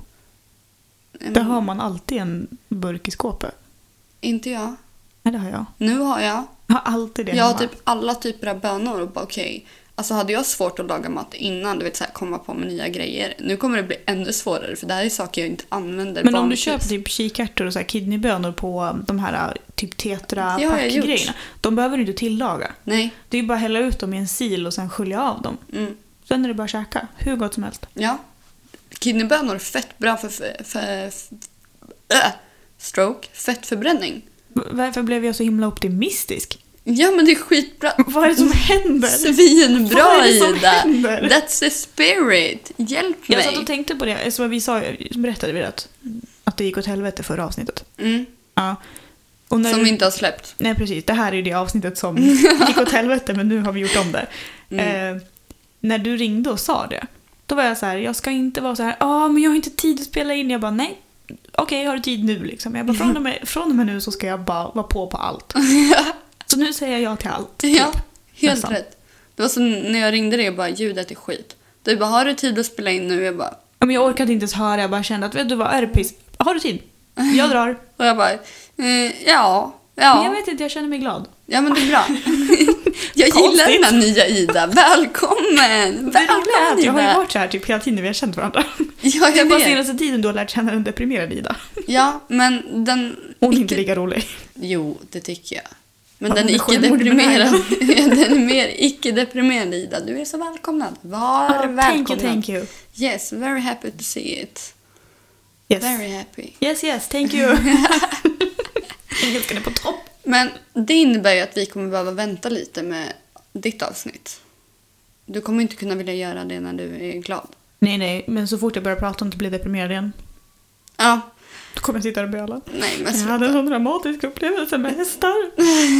Mm,
Det har man alltid en burk i skåpet.
Inte jag.
Nej, det har jag.
Nu har jag.
Jag har alltid det
Jag har
hemma.
typ alla typer av bönor och bara okej. Alltså hade jag svårt att laga mat innan, du vet så här, komma på med nya grejer. Nu kommer det bli ännu svårare för det här är saker jag inte använder
Men om du
vanligtvis.
köper typ kikärtor och så här kidneybönor på de här typ tetra
Det har jag gjort.
grejerna De behöver du inte tillaga.
Nej.
Det är ju bara att hälla ut dem i en sil och sen skölja av dem.
Mm.
Sen är det bara att käka. Hur gott som helst.
Ja. Kidneybönor är fett bra för, för, för, äh, stroke, fettförbränning.
V- Varför blev jag så himla optimistisk? [laughs]
Ja men det är skitbra.
Vad är det som händer? Vad
Svinbra
är det som
Ida!
händer?
That's the spirit! Hjälp
Jag
mig!
satt och tänkte på det, som vi sa, berättade vi det att, att det gick åt helvete förra avsnittet.
Mm.
Ja. Och när
Som
du-
vi inte har släppt.
Nej precis, det här är ju det
[laughs]
avsnittet som gick åt helvete men nu har vi gjort om det.
Mm.
Eh, när du ringde och sa det, då var jag så här, jag ska inte vara så här, ja men jag har inte tid att spela in. Jag bara nej, okej har du tid nu liksom? Jag bara från och, med, från och med nu så ska jag bara vara på
[laughs]
på allt. så nu säger jag ja till allt. typ.
Ja, helt
Nästan.
rätt. Det var som när jag ringde dig och bara ljudet är skit. Du bara har du tid att spela in nu? Jag bara,
Ja, Men jag orkade inte ens höra, jag bara kände att vet du vad, är det piss? Har du tid? Jag drar.
och jag bara eh, ja,
Men jag
ja.
vet inte, jag känner mig glad.
Ja men det är
[laughs]
bra. jag gillar den här nya Ida. Välkommen!
Det roliga är
Välkommen
att jag har ju
Ida!
varit så här typ hela tiden när vi har känt varandra.
Ja,
[laughs] Det är
jag
bara
vet.
senaste tiden du har lärt känna en deprimerad Ida.
Ja, men den...
Hon är inte lika rolig.
Jo, det tycker jag. Men
Ja,
den
men
icke-deprimerade Ja, den är mer icke-deprimerande Ida. Du är så välkomnad. Var
[laughs]
välkomnad.
thank you, thank you.
Yes, very happy to see it.
Yes.
Very happy.
yes, yes,
[laughs]
thank you. [laughs] Engelskan är på topp.
Men det innebär ju att vi kommer behöva vänta lite med ditt avsnitt. Du kommer inte kunna vilja göra det när du är glad.
Nej, nej, men så fort jag börjar prata om att bli deprimerad igen,
Ja,
då kommer jag sitta och böla.
nej men
Jag
sluta.
hade en sån dramatisk upplevelse
[laughs]
med hästar.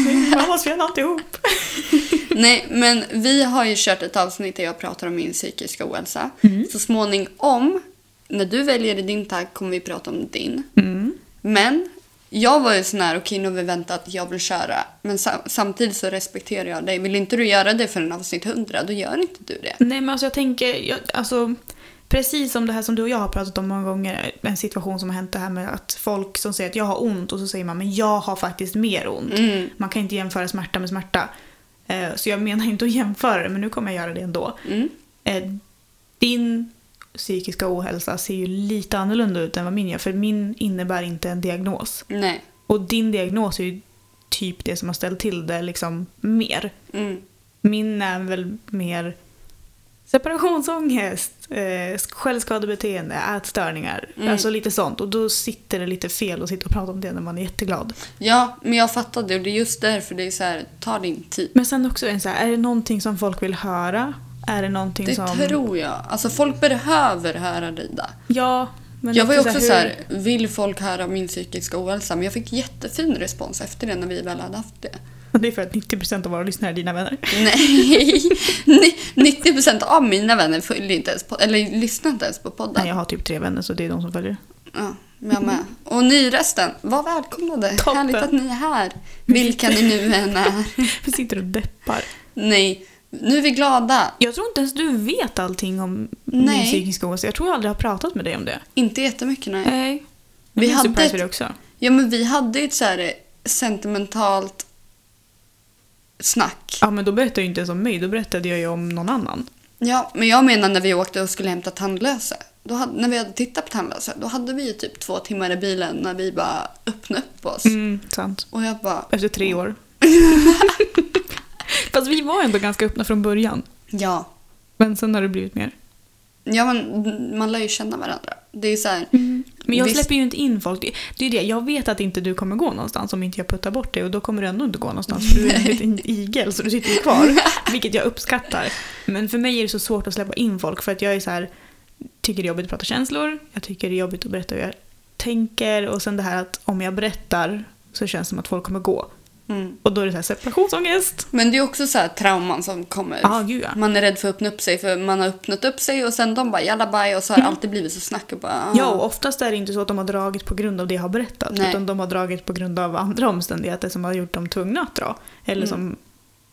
Min mammas fel alltihop.
Nej, men vi har ju kört ett avsnitt där jag pratar om min psykiska ohälsa.
Mm.
Så småningom, när du väljer din tagg kommer vi prata om din.
Mm.
Men jag var ju sån här, okej nu har vi väntat, jag vill köra. Men sam- samtidigt så respekterar jag dig. Vill inte du göra det förrän avsnitt 100, då gör inte du det.
Nej, men alltså jag tänker, jag, alltså, precis som det här som du och jag har pratat om många gånger, en situation som har hänt det här med att folk som säger att jag har ont och så säger man men jag har faktiskt mer ont.
Mm.
Man kan inte jämföra smärta med smärta. Eh, Så jag menar inte att jämföra det, men nu kommer jag göra det ändå.
Mm.
Eh, Din psykiska ohälsa ser ju lite annorlunda ut än vad min gör, för min innebär inte en diagnos.
Nej.
Och din diagnos är ju typ det som har ställt till det liksom mer.
Mm.
Min är väl mer separationsångest, eh, självskadebeteende, ätstörningar,
Mm.
alltså lite sånt. Och då sitter det lite fel att sitta och prata om det när man är jätteglad.
Ja, men jag fattade och det är just därför det är så här, ta din tid.
Men sen också en så här, är det någonting som folk vill höra? Är det någonting
Det
som...
tror jag. Alltså folk behöver höra dig där.
Ja, men
Jag var ju
lite
också
hur-
så här, vill folk höra om min psykiska ohälsa? Men jag fick jättefin respons efter det när vi väl hade haft det.
[laughs] Det är för att 90% av våra lyssnare är dina vänner.
Nej! Ni- 90% av mina vänner följer inte ens på, eller lyssnar inte ens på podden.
Nej, jag har typ tre vänner så det är de
[laughs]
som följer.
Ja, jag med. Och ni resten, var välkomnade.
Toppen.
Härligt att ni är här. Vilka ni nu än är.
Vi sitter och deppar.
Nej, Nu är vi glada.
Jag tror inte ens du vet allting om min
Nej.
psykiska ohälsa. Jag tror jag aldrig har pratat med dig om det.
Inte jättemycket nej.
Nej.
Vi
Vi
hade
hade
ett-
för det också.
Ja men vi hade ju ett så här eh, sentimentalt snack.
Ja, men då berättade jag ju inte ens om mig. Då berättade jag ju om någon annan.
Ja, men jag menar när vi åkte och skulle hämta tandlösa. Då hade, när vi hade tittat på tandlösa, då hade vi ju typ två timmar i bilen när vi bara öppnade upp oss.
Mm, sant.
Och jag bara,
Efter tre år. [laughs] Fast vi var ändå ganska öppna från början.
ja.
Men sen har det blivit mer.
Ja men man lär ju känna varandra. Det är ju så här,
Mm. Men jag
Visst.
släpper ju inte in folk. Det, det är ju det. Jag vet att inte du kommer gå någonstans om inte jag puttar bort dig och då kommer du ändå inte gå någonstans för du är en liten igel så du sitter ju kvar. Vilket jag uppskattar. Men för mig är det så svårt att släppa in folk för att jag är så här tycker det är jobbigt att prata känslor, jag tycker det är jobbigt att berätta hur jag tänker och sen det här att om jag berättar så känns det som att folk kommer gå.
mm.
Och då är det så här separationsångest.
Men det är också så här trauman som kommer.
Ja, gud ja.
Man är rädd för att öppna upp sig för man har öppnat upp sig och sen de bara jalla baj och så har det alltid blivit så snack och bara ah.
Mm. Ja, och oftast är det inte så att de har dragit på grund av det jag har berättat.
Nej.
Utan de har dragit på grund av andra omständigheter som har gjort dem tvungna att dra. Eller som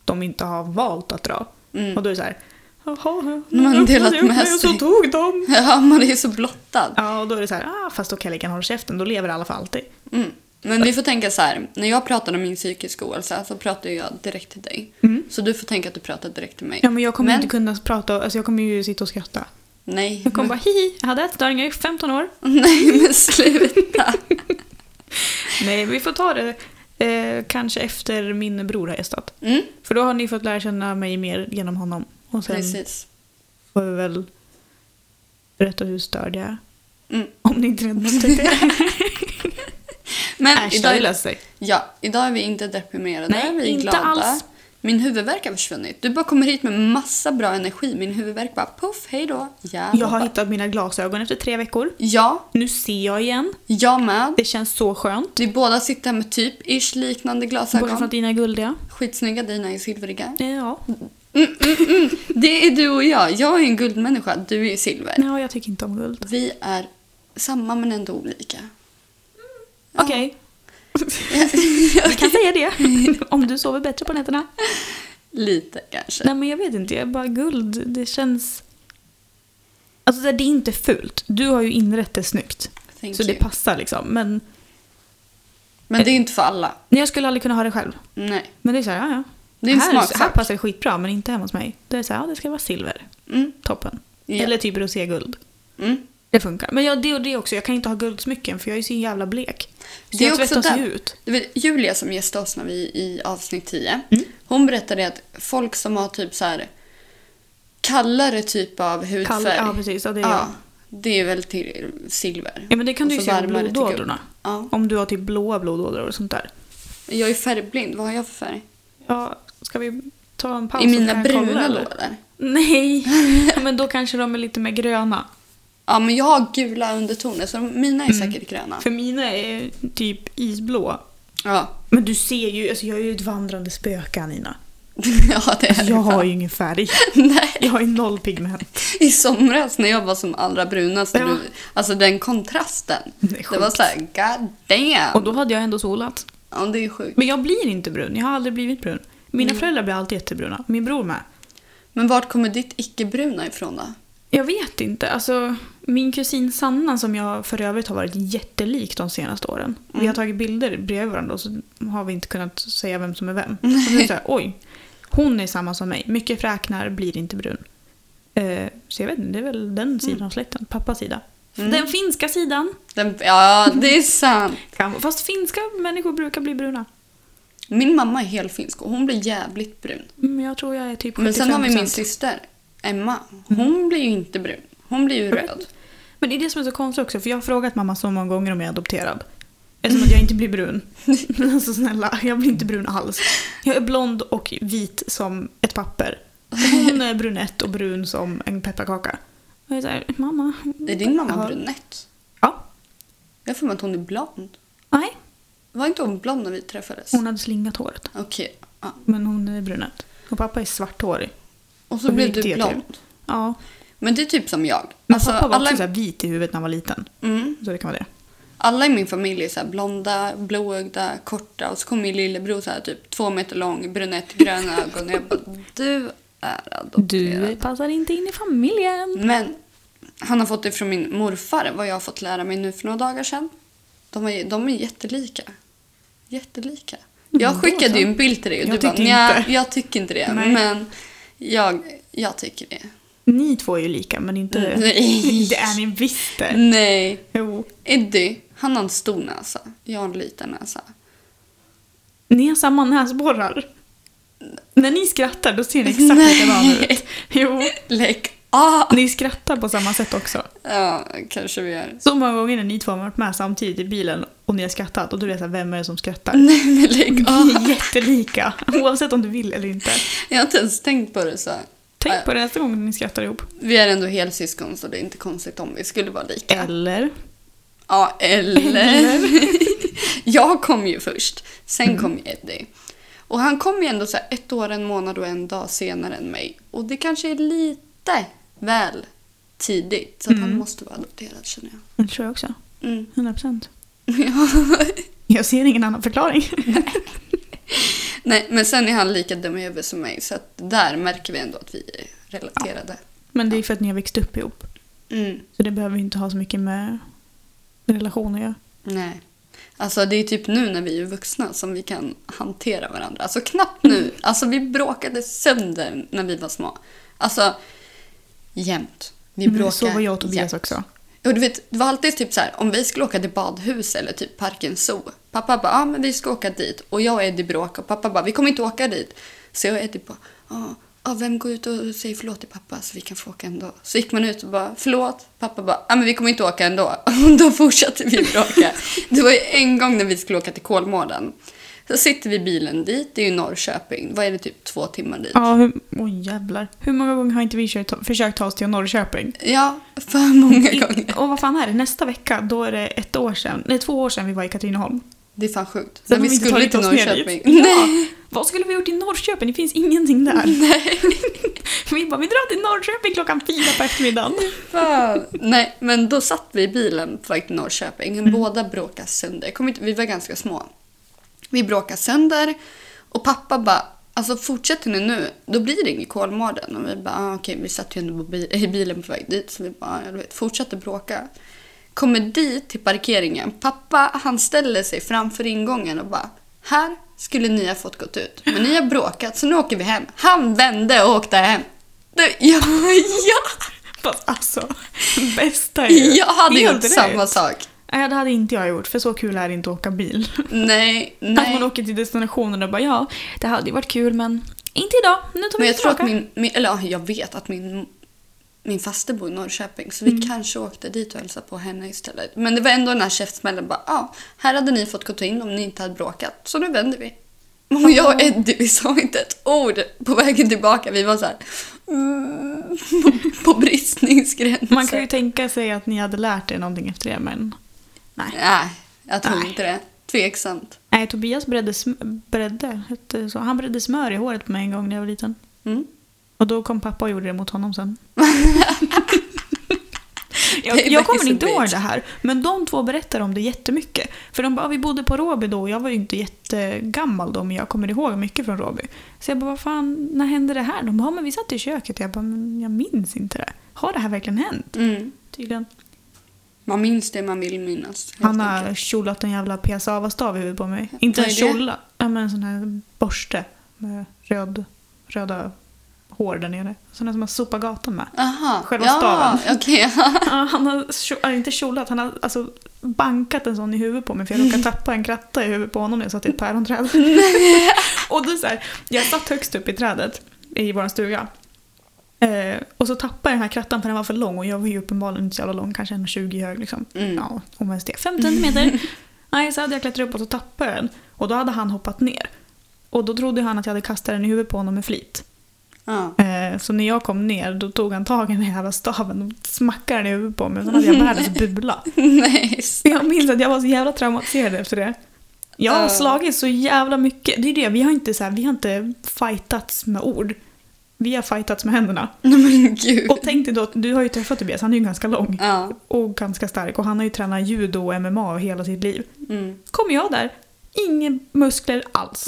de inte har valt att dra.
Mm.
Och då är det så här...
[laughs]
Jaha,
De har
jag
delat
öppnade upp
med
mig och så
sig."
tog de.
[laughs] Ja, man är ju så blottad.
Ja, och då är det så här, ah, fast då kan jag lika gärna hålla käften, då lever alla för alltid.
Mm. Men vi får tänka så här, när jag pratar om min psykiska ohälsa så pratar jag direkt till dig. Så du får tänka att du pratar direkt till mig.
Mm. Ja, men jag kommer
Men-
inte kunna prata, alltså jag kommer ju sitta och skratta.
Nej.
Jag kommer bara, hihi, jag hade ätstörningar i 15 år.
[laughs] Nej men sluta.
Nej, vi får ta det eh, kanske efter min bror har gästat.
Mm.
För då har ni fått lära känna mig mer genom honom. Och [laughs] sen
Precis.
får vi väl berätta hur störd jag är. [laughs]
Mm.
Om ni inte redan
[laughs]
upptäckt det.
Men
Äsch, det har ju
idag,
löst sig.
ja, idag är vi inte deprimerade.
Nej,
vi är
inte
glada.
alls.
Min huvudvärk har försvunnit. Du bara kommer hit med massa bra energi. Min huvudvärk bara puff, hej då. Ja,
Jag har hittat mina glasögon efter tre veckor.
Ja,
Nu ser jag igen.
jag med.
Det känns så skönt.
Vi båda sitter här med typ ish liknande
Bortsett från
glasögon.
att dina är guldiga.
Skitsnygga, dina är silveriga.
Ja.
Det är du och jag. Jag är en guldmänniska, du är silver.
ja, jag tycker inte om guld.
Vi är samma men ändå olika. [laughs]
Okej. Vi kan säga det. [laughs] Om du sover bättre på nätterna.
Lite kanske.
Nej men jag vet inte, jag är bara guld. Det känns... Alltså det är inte fult. Du har ju inrett det snyggt.
Thank
så det
you.
passar liksom. Men
Men det är inte för alla.
nej, jag skulle aldrig kunna ha det själv.
Nej.
Men det är så här, ja, ja.
Det är en
här,
smaksak.
här passar det skitbra men inte hemma hos mig. Det är så här, ja, det ska vara silver.
Mm.
Toppen.
Ja.
Eller typ roséguld.
Mm.
Det funkar. Men jag, det och det också, jag kan inte ha guldsmycken för jag är så jävla blek. Så
Det är
jag
också
tvättas ju
där.
ut.
Du vet, Julia som gästade oss när vi i avsnitt 10.
Mm.
Hon berättade att folk som har typ så här kallare typ av hudfärg.
Kall, ja precis, ja, det är jag.
ja, det är väl till silver.
Ja men det kan
Och
du ju
så
se på
varmare till guld.
blodådrorna.
Ja.
Om du har typ blåa blodådror och sånt där.
Jag är färgblind. Vad har jag för färg?
Ja, ska vi ta en paus?
I
så
mina
kan jag kolla,
bruna
eller?
lådor?
[laughs]
[laughs]
Nej, Ja, men då kanske de är lite mer gröna.
Ja, men jag har gula undertoner så mina är säkert gröna.
Mm. För mina är typ isblå.
Ja, [laughs]
Men du ser ju, alltså jag är ju ett vandrande spöke Anina. Alltså,
ja det är det
Jag har
fan.
ju ingen färg.
[laughs] Nej,
Jag har ju noll pigment.
I somras när jag var som allra brunast,
Ja.
du, alltså den kontrasten.
Det är
Det,
sjukt.
var så här, god damn!
Och då hade jag ändå solat.
ja, det är sjukt.
Men jag blir inte brun, jag har aldrig blivit brun. Mina föräldrar blir alltid jättebruna, min bror med.
Men vart kommer ditt icke-bruna ifrån då?
Jag vet inte. Alltså, min kusin Sanna som jag för övrigt har varit jättelik de senaste åren. Vi har tagit bilder bredvid varandra och så har vi inte kunnat säga vem som är vem. Och så är det så här, oj, hon är samma som mig. Mycket fräknar, blir inte brun. Eh, så jag vet inte, det är väl den sidan av släkten. Pappas sida. Den finska sidan.
Den, ja, det är sant.
Fast finska människor brukar bli bruna.
Min mamma är helfinsk och hon blir jävligt brun.
Men jag tror jag är typ 75%.
Men sen har vi min syster, Emma.
Mm.
Hon blir ju inte brun. Hon blir ju röd.
Men det är det som är så konstigt också, för jag har frågat mamma så många gånger om jag är adopterad. Eftersom att jag inte
[laughs]
blir brun. alltså snälla, jag blir inte brun alls. Jag är blond och vit som ett papper. Och Hon är brunett och brun som en pepparkaka. Och jag är såhär, mamma.
Är din mamma
Ja.
brunett?
Ja.
Jag får mig att hon är blond.
Nej,
Var inte hon blond när vi träffades?
hon hade slingat håret.
Okej. Ja.
Men hon är brunett. Och pappa är svarthårig.
Och så
Hon
blev
gick det
du
till.
blond.
Ja.
Men det är typ som jag.
Men
Alltså,
pappa var
alla,
också så här vit i huvudet när han var liten.
mm,
Så det kan vara det.
alla i min familj är så här blonda, blåögda,
[laughs]
korta och så kommer min lillebror så här typ två meter lång, brunett, gröna ögon. Och jag bara, du är adopterad.
Du passar inte in i familjen.
Men han har fått det från min morfar, vad jag har fått lära mig nu för några dagar sedan. De är, de är jättelika. Jättelika.
Mm, då
Jag skickade ju
så.
en bild till dig och
Jag
du bara
tycker
"Nja,
inte."
jag tycker inte det.
Nej.
Men jag, jag tycker det.
Ni två är ju lika, men [laughs] inte...
Mm. Nej. Mm.
Det är ni visst det.
Nej.
Jo.
Eddie, han har en stor näsa. Jag har en liten näsa.
Ni har samma näsborrar. När ni skrattar då ser ni exakt
Nej.
likadana ut. Jo.
Lägg av!
Ni skrattar på samma sätt också.
Ja, kanske vi gör.
Så många gånger när ni två har varit med samtidigt i bilen och ni har skrattat och du vet så här, vem är det som skrattar?
Nej men lägg
Ni
av!
är jättelika, oavsett om du vill eller inte.
Jag har inte ens tänkt på det så. här.
Tänk på det nästa gång ni skrattar ihop.
Vi är ändå helsyskon så det är inte konstigt om vi skulle vara lika.
Eller?
Ja, eller... [laughs] jag kom ju först. Sen kom ju Eddie. Och han kom ju ändå så här ett år, en månad och en dag senare än mig. Och det kanske är lite väl tidigt. Så att han måste vara adopterad känner jag.
Det tror jag också.
Mm. [laughs]
100%. Jag ser ingen annan förklaring.
Nej, men sen är han lika dum i huvudet som mig. Så att där märker vi ändå att vi är relaterade.
Men det är för att ni har växt upp ihop.
Mm.
Så det behöver ju inte ha så mycket med relationer att göra.
Nej. Alltså det är typ nu när vi är vuxna som vi kan hantera varandra. Alltså knappt
[laughs]
nu. Alltså vi bråkade sönder när vi var små. Alltså jämt. Vi
Men
bråkade
Mm, Så var jag och Tobias också.
Och du vet, det var alltid typ så här om vi skulle åka till badhus eller typ parken zoo. Pappa bara, ja ah, men vi ska åka dit. Och jag och Eddie bråkade och pappa bara, vi kommer inte åka dit. Så jag och Eddie bara, ja, ah, vem går ut och säger förlåt till pappa så vi kan få åka ändå. Så gick man ut och bara, förlåt. Pappa bara, ah, men vi kommer inte åka ändå. [laughs] Och då fortsatte vi bråka. Det var ju en gång när vi skulle åka till Kolmården. Så sitter vi i bilen dit, det är ju Norrköping. Vad är det, typ två timmar dit?
Ja, hur... Oj jävlar. Hur många gånger har inte vi kört, försökt ta oss till Norrköping?
Ja, för
[laughs]
många gånger.
Och vad fan är det? Nästa vecka, då är det ett år sedan, nej två år sedan vi var i Katrineholm.
Det är fan sjukt. Men
Sen har
vi
inte
skulle
tagit
till
oss ner
Norrköping.
[laughs] dit.
Nej.
Ja. Vad skulle vi ha gjort i Norrköping? Det finns ingenting där. Nej. [laughs] vi bara, vi drar till Norrköping klockan fyra
[laughs]
på eftermiddagen.
Fan. Nej, men då satt vi i bilen på väg till Norrköping. Båda bråkade sönder. Jag kommer inte, vi var ganska små. Vi bråkade sönder och pappa bara Alltså fortsätter ni nu, då blir det ingen Kolmården. Och vi bara, ah, okej, vi satt ju ändå på bi- i bilen på väg dit. Så vi bara, ah, jag vet, fortsätter bråka. Kommer dit till parkeringen. Pappa, han ställer sig framför ingången och bara, här skulle ni ha fått gått ut. Men ni har bråkat, så nu åker vi hem. Han vände och åkte hem. Du, [laughs] ja, ja.
Fast alltså,
[laughs]
bästa är ju-
Jag hade
Helt
gjort
rätt.
samma sak.
Nej, det hade inte jag gjort, för så kul är det inte att åka bil.
Nej,
Att
nej.
man åker till destinationen och bara, ja, det hade ju varit kul men inte idag. Nu tar vi
Men jag tror att
tillbaka.
min, min eller ja, jag vet att min, min faste bor i Norrköping så vi
Mm.
kanske åkte dit och hälsade på henne istället. Men det var ändå den här käftsmällen bara, ja, här hade ni fått gå ta in om ni inte hade bråkat. Så nu vänder vi. Och jag och Eddie, vi sa inte ett ord på vägen tillbaka. Vi var så här, mm, [laughs] på, på bristningsgränsen.
Man kan ju tänka sig att ni hade lärt er någonting efter det, men... Nej.
Nej, jag tror
Nej.
inte det. Tveksamt.
Nej, Tobias bredde, sm- bredde hette det så. Han bredde smör i håret på mig en gång när jag var liten.
Mm.
Och då kom pappa och gjorde det mot
[laughs]
honom sen.
Det
jag,
är
jag kommer
faktiskt
inte
en
ihåg
bit.
det här, men de två berättar om det jättemycket. För de bara, "Ah, vi bodde på Råby då och jag var ju inte jättegammal då, men jag kommer ihåg mycket från Råby. Så jag bara, vad fan, när hände det här? De bara, "Ja, men vi satt i köket. Jag bara, men jag minns inte det. Har det här verkligen hänt?
Mm.
Tydligen.
Man minns det man vill minnas. helt
Han
enkelt.
har kjolat en jävla PSAVA-stav i huvudet på mig. Inte
Vad
en
är det?
kjola, ja, men en sån här borste med röd, röda hår där nere. Sån där som man sopar gatan med.
Aha,
Själva
ja, [laughs]
staven.
Okej, ja.
Ja, han har kjo- ja, inte kjolat, han har alltså bankat en sån i huvudet på mig för jag råkade tappa en kratta i huvudet på honom när jag satt i ett päronträd. och då så här, jag satt högst upp i trädet i vår stuga. Eh, och så tappade jag den här krattan för den var för lång och jag var ju uppenbarligen inte så jävla lång, kanske 1,20 hög liksom.
Mm.
Ja, om ens det. 15 centimeter. Nej, så hade jag klättrat upp och så tappade jag den. Och då hade han hoppat ner. Och då trodde han att jag hade kastat den i huvudet på honom med flit.
ja.
Eh, Så när jag kom ner då tog han tag i den här jävla staven och smackade den i huvudet på mig. Sen hade jag
[laughs]
världens bula.
Nej,
Jag minns att jag var så jävla traumatiserad efter det. Jag har
Ah.
slagit så jävla mycket. Det är det, vi har inte, så här, vi har inte fightats med ord. Vi har fightats med händerna.
nej men gud. [laughs]
Och tänk dig då, att du har ju träffat Tobias, han är ju ganska lång.
Ja.
Och ganska stark och han har ju tränat judo och MMA hela sitt liv.
Mm.
Kom jag där, Inga muskler
[laughs]
alls.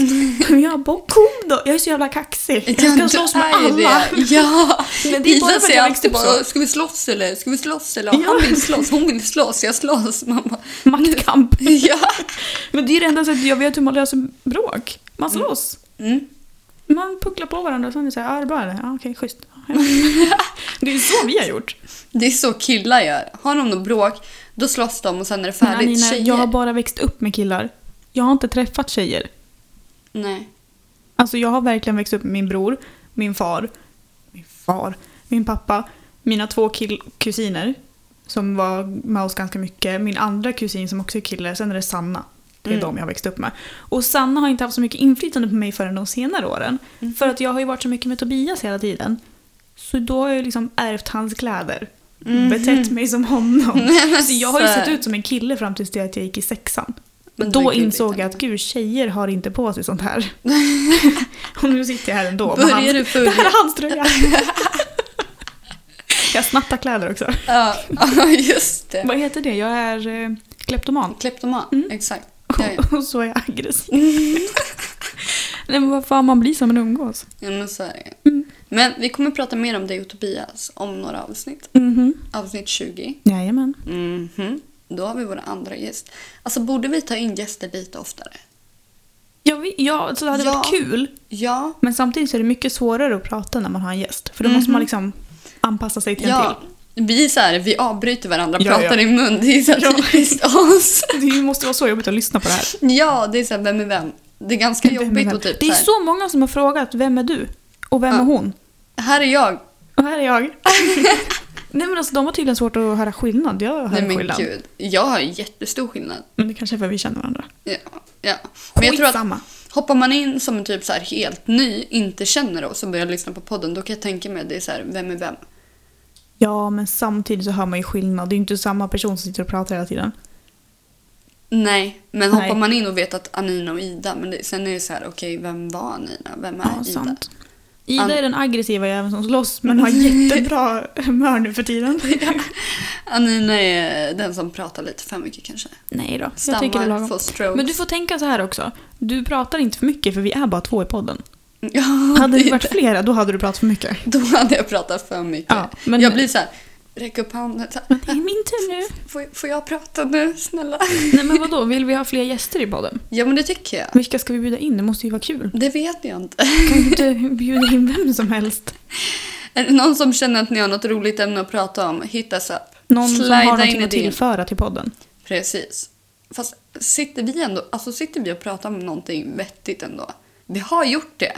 Jag bara, kom då! Jag är så jävla kaxig. Jag ska slåss med alla.
Ja!
Men [laughs] det är bara för
Isa
att
säger
jag växte
alltid
upp
bara “ska vi slåss eller?” “ska vi slåss eller?”
Ja.
“han vill slåss, hon vill slåss, jag slåss”. Man bara,
[laughs] Maktkamp.
[laughs] ja.
Men det är det enda sättet jag vet hur man löser bråk. Man slåss.
Mm.
Man pucklar på varandra och sen är det såhär, ja det är bra eller? Ja okej, schysst. Ja.
[laughs]
det är så vi har gjort.
Det är så killar gör. Har de något bråk, då slåss de och sen är det
Men
färdigt.
Anina,
Tjejer.
jag har bara växt upp med killar. Jag har inte träffat tjejer.
Nej.
Alltså jag har verkligen växt upp med min bror, min far, min far, min pappa, mina två kill- kusiner som var med oss ganska mycket, min andra kusin som också är kille, sen är det Sanna. Det är
Mm.
de jag har växt upp med. Och Sanna har inte haft så mycket inflytande på mig förrän de senare åren.
Mm.
För att jag har ju varit så mycket med Tobias hela tiden. Så då har jag ju liksom ärvt hans kläder.
Mm-hmm. Mm.
Betett mig som [laughs] honom. Så jag har ju sett ut som en kille fram tills det att jag gick i sexan.
Men det är
då
gulligt
insåg jag
ändå.
att gud, tjejer har inte på sig sånt
[laughs]
här. Och nu sitter jag här ändå. med
Börjar
hans-
du
[laughs] Det
följa?
här är
[laughs]
hans tröja. jag snattar kläder också.
Ja, ja, [laughs] just det.
Vad heter det? Jag är eh, kleptoman.
Kleptoman,
Mm.
exakt. Ja, ja.
[laughs]
Mm.
Och så är jag aggressiv. [laughs] Nej men vad fan, man blir som man umgås.
Ja, men så är det.
Mm.
Men vi kommer prata mer om dig och Tobias om några avsnitt.
Mhm.
Avsnitt 20.
Jajamän.
Mhm. Då har vi vår andra gäst. Alltså borde vi ta in gäster lite oftare?
Ja, vi, ja, så det hade
Ja.
varit kul.
Ja.
Men samtidigt så är det mycket svårare att prata när man har en gäst. För då måste man liksom anpassa sig till en
Mm-hmm. Ja.
till.
Vi är så här, vi avbryter varandra,
Ja,
pratar
ja.
i mun. Det är så här
Ja.
typiskt oss.
Det måste vara så jobbigt att lyssna på det här.
Ja, det är så här, vem är vem? Det är ganska
Vem är
jobbigt
vem?
och typ
det är
så här,
så många som har frågat vem är du? Och vem
Ja.
är hon?
här är jag.
Och här är jag. [laughs] Nej men alltså de har tydligen svårt att höra skillnad. Jag hör
Nej men
skillnad.
gud, jag har jättestor skillnad.
Men det kanske är för att vi känner varandra.
Ja, ja. Men jag tror att
Skitsamma.
hoppar man in som en typ så här helt ny, inte känner oss och börjar lyssna på podden, då kan jag tänka mig att det är så här, vem är vem?
Ja men samtidigt så hör man ju skillnad. Det är ju inte samma person som sitter och pratar hela tiden.
Nej, men
Nej.
hoppar man in och vet att Anina och Ida, men det, sen är det så här, okej, vem var Anina? Vem är
Ja,
Ida?
sant. Ida
An- Mm.
är den aggressiva jäveln som
[laughs]
slåss men har jättebra humör nu för tiden.
Anina är den som pratar lite för mycket kanske.
Nej då, jag tycker det är
Stammar,
lagom.
får strokes.
Men du får tänka så här också. Du pratar inte för mycket för vi är bara två i podden.
[laughs] ja,
Hade
det
vi
är
varit
det.
flera då hade du pratat för mycket.
Då hade jag pratat för mycket.
Ja, men-
Jag blir så här, räck upp handen. Så här,
Men det är min tur nu.
får, får jag prata nu, snälla?
Nej men vadå, vill vi ha fler gäster i podden?
Ja, men det tycker jag.
Vilka ska vi bjuda in? Det måste ju vara kul.
Det vet jag inte.
Kan vi inte [laughs] bjuda in vem som helst?
Är det någon som känner att ni har något roligt ämne att prata om, hit us up.
Någon som har
in
någonting att
idén.
tillföra till podden.
Precis. Fast sitter vi ändå, alltså sitter vi och pratar om någonting vettigt ändå? Vi har gjort det.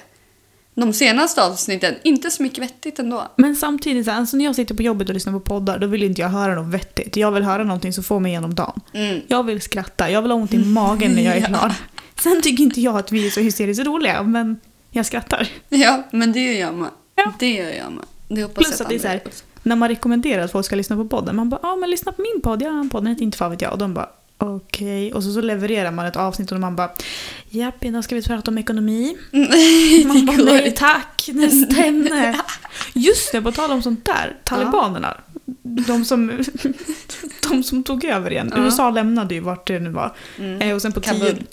De senaste avsnitten, inte så mycket vettigt ändå.
Men samtidigt, så här, alltså när jag sitter på jobbet och lyssnar på poddar då vill inte jag höra något vettigt. Jag vill höra någonting som får mig igenom dagen.
Mm.
Jag vill skratta, jag vill ha ont i magen när jag är klar. Sen tycker inte jag att vi är så hysteriskt roliga, men jag skrattar.
Ja, men det gör jag med.
Ja.
Det gör jag med. Det hoppas
Plus
jag
att det är så här,
andra också.
när man rekommenderar att folk ska lyssna på podden, man bara ja men lyssna på min podd, jag har en podd, den heter inte fan vet jag. Och de bara okej. Och så, så levererar man ett avsnitt och man bara japp, idag ska vi prata om ekonomi. Man bara
går
nej
inte.
tack, nästa ämne. Just det, på tal om sånt där, talibanerna. De som, [laughs] de som tog över igen.
Ja.
USA lämnade ju vart det nu var.
Mm.
Eh, Och sen på tio,
Kabul.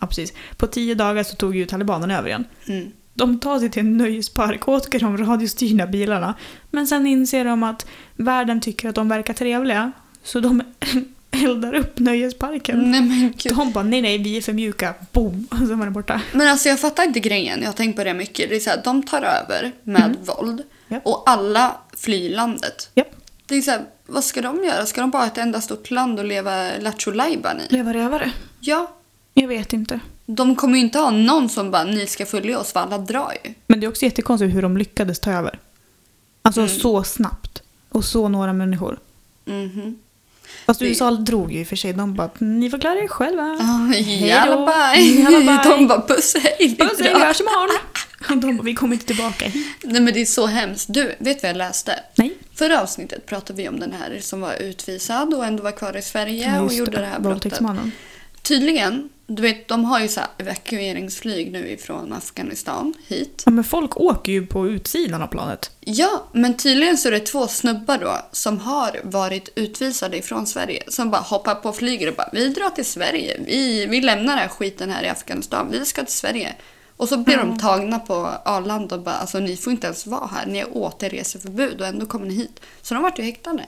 ja, precis. på tio dagar så tog ju talibanerna över igen.
Mm.
De tar sig till en nöjespark och åker de radiostyrda bilarna. Men sen inser de att världen tycker att de verkar trevliga. Så de [laughs] eldar upp nöjesparken.
Mm. Nej men gud.
De bara nej nej, vi är för mjuka. Boom! [laughs] Och sen var den borta.
Men alltså jag fattar inte grejen, jag har tänkt på det mycket. Det är så här, de tar över med våld
Mm. Ja.
och alla flyr landet.
Japp.
Det är så här, vad ska de göra? Ska de bara ha ett enda stort land och leva lattjo lajban i?
Leva rövare.
Ja,
Jag vet inte.
de kommer ju inte ha någon som bara ni ska följa oss för alla drar ju.
Men det är också jättekonstigt hur de lyckades ta över. Alltså
Mm.
så snabbt. Och så några människor.
Mhm.
Fast
Det-
USA drog ju i och för sig. De bara ni får klara er själva.
Ah,
då.
Jalla
[laughs] Jalla,
bye!
bye.
De bara puss hej! vi
Puss hej,
drar."
vi hörs imorgon. Och de bara vi kommer inte tillbaka hit.
Nej men det är så hemskt. Du, vet du vad jag läste?
Nej.
Förra avsnittet pratade vi om den här som var utvisad och ändå var kvar i Sverige och
Just
gjorde det här brottet.
Våldtäktsmannen.
Tydligen Du vet, de har ju så här evakueringsflyg nu ifrån Afghanistan hit.
Ja, men folk åker ju på utsidan av planet.
Ja, men tydligen så är det två snubbar då som har varit utvisade ifrån Sverige som bara hoppar på flyget och bara vi drar till Sverige. Vi, vi lämnar den här skiten här i Afghanistan. Vi ska till Sverige. Och så blir de tagna på Arlanda och bara alltså ni får inte ens vara här. Ni har återreseförbud och ändå kommer ni hit. Så de vart ju häktade.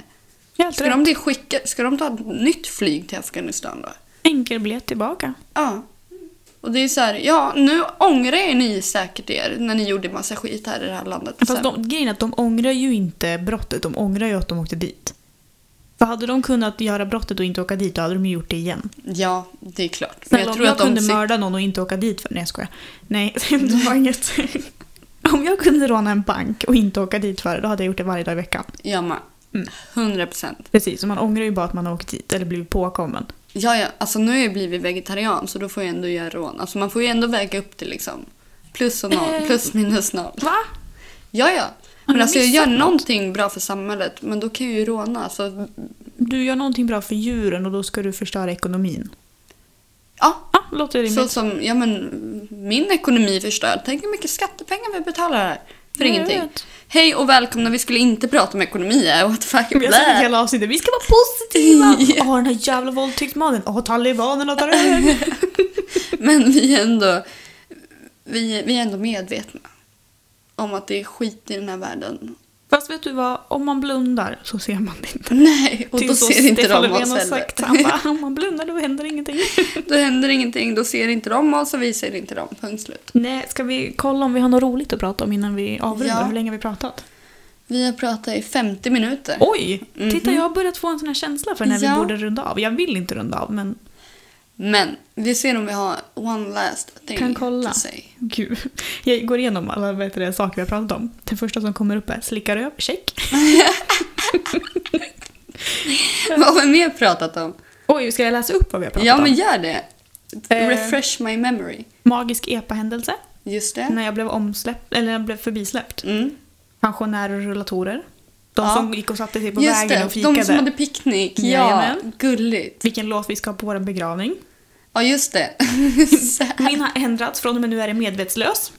Helt
Ska
rätt.
de, bli skicka, ska de ta ett nytt flyg till Afghanistan då?
Enkelbiljett tillbaka.
Ja. Och det är så här, ja nu ångrar er ni säkert er när ni gjorde massa skit här i det här landet.
Fast
Sen-
de, grejen är att de ångrar ju inte brottet, de ångrar ju att de åkte dit. För hade de kunnat göra brottet och inte åka dit, då hade de ju gjort det igen.
Ja, det är klart.
Snälla, jag om jag kunde
sit-
mörda någon och inte åka dit för... Nej, jag skojar. Nej, [laughs] det var inget. Om jag kunde råna en bank och inte åka dit för det, då hade jag gjort det varje dag i veckan.
Ja, man.
Mm.
100 procent.
Precis, och man ångrar ju bara att man har åkt dit eller blivit påkommen.
Ja, ja, alltså nu har jag blivit vegetarian så då får jag ändå göra rån. Alltså man får ju ändå väga upp det liksom. Plus och noll,
Eh.
plus minus noll.
Va?
Ja, ja. Men
du
alltså jag gör
missat något?
någonting bra för samhället men då kan jag ju råna. Alltså,
Du gör någonting bra för djuren och då ska du förstöra ekonomin.
ja,
Ja, låter rimligt.
så som, ja men min ekonomi är förstörd. Tänk hur mycket skattepengar vi betalar här. För
Jag
ingenting.
vet.
Hej och välkomna, vi skulle inte prata om ekonomi. eh, What the fuck?
Vi har sagt
Blä.
hela avsnittet, vi ska vara positiva!
[laughs]
Åh, den här jävla våldtäktsmannen. Åh, talibanerna tar över.
[laughs] Men vi är ändå, vi, vi är ändå medvetna om att det är skit i den här världen. [laughs]
Fast vet du vad, om man blundar så ser man det inte.
Nej, och då
Tills
ser inte
Typ Stefan
de
Löfven
oss
har
heller.
sagt, han bara, [laughs] om man blundar då händer ingenting.
[laughs] Då händer ingenting, då ser inte de oss och vi ser inte dem. Punkt slut.
Nej, ska vi kolla om vi har något roligt att prata om innan vi avrundar?
Ja.
Hur länge har vi pratat?
Vi har pratat i 50 minuter.
Oj!
Mhm.
Titta, jag har börjat få en sån här känsla för när
Ja.
vi borde runda av. Jag vill inte runda av, men
Men vi ser om vi har one last thing
Kan kolla.
to say. [laughs]
gud. [laughs] Jag går igenom alla vet du, det, saker vi har pratat om. Den första som kommer upp är slickar röv, check.
Vad har vi mer pratat om?
Oj, ska jag läsa upp vad vi har pratat
Ja,
om?
men gör det.
Eh.
Refresh my memory.
Magisk EPA-händelse.
Just
När
det.
jag blev omsläppt, eller jag blev förbisläppt.
Mm.
Pensionärer och rullatorer. De
Ja.
som gick och satte sig på
Just
vägen
det,
och fikade.
de som hade picknick. Ja,
Jajamän.
gulligt.
Vilken låt vi ska ha på vår begravning.
Ja, just det.
[laughs]
Så här.
Min har ändrats, från och med nu är det medvetslös.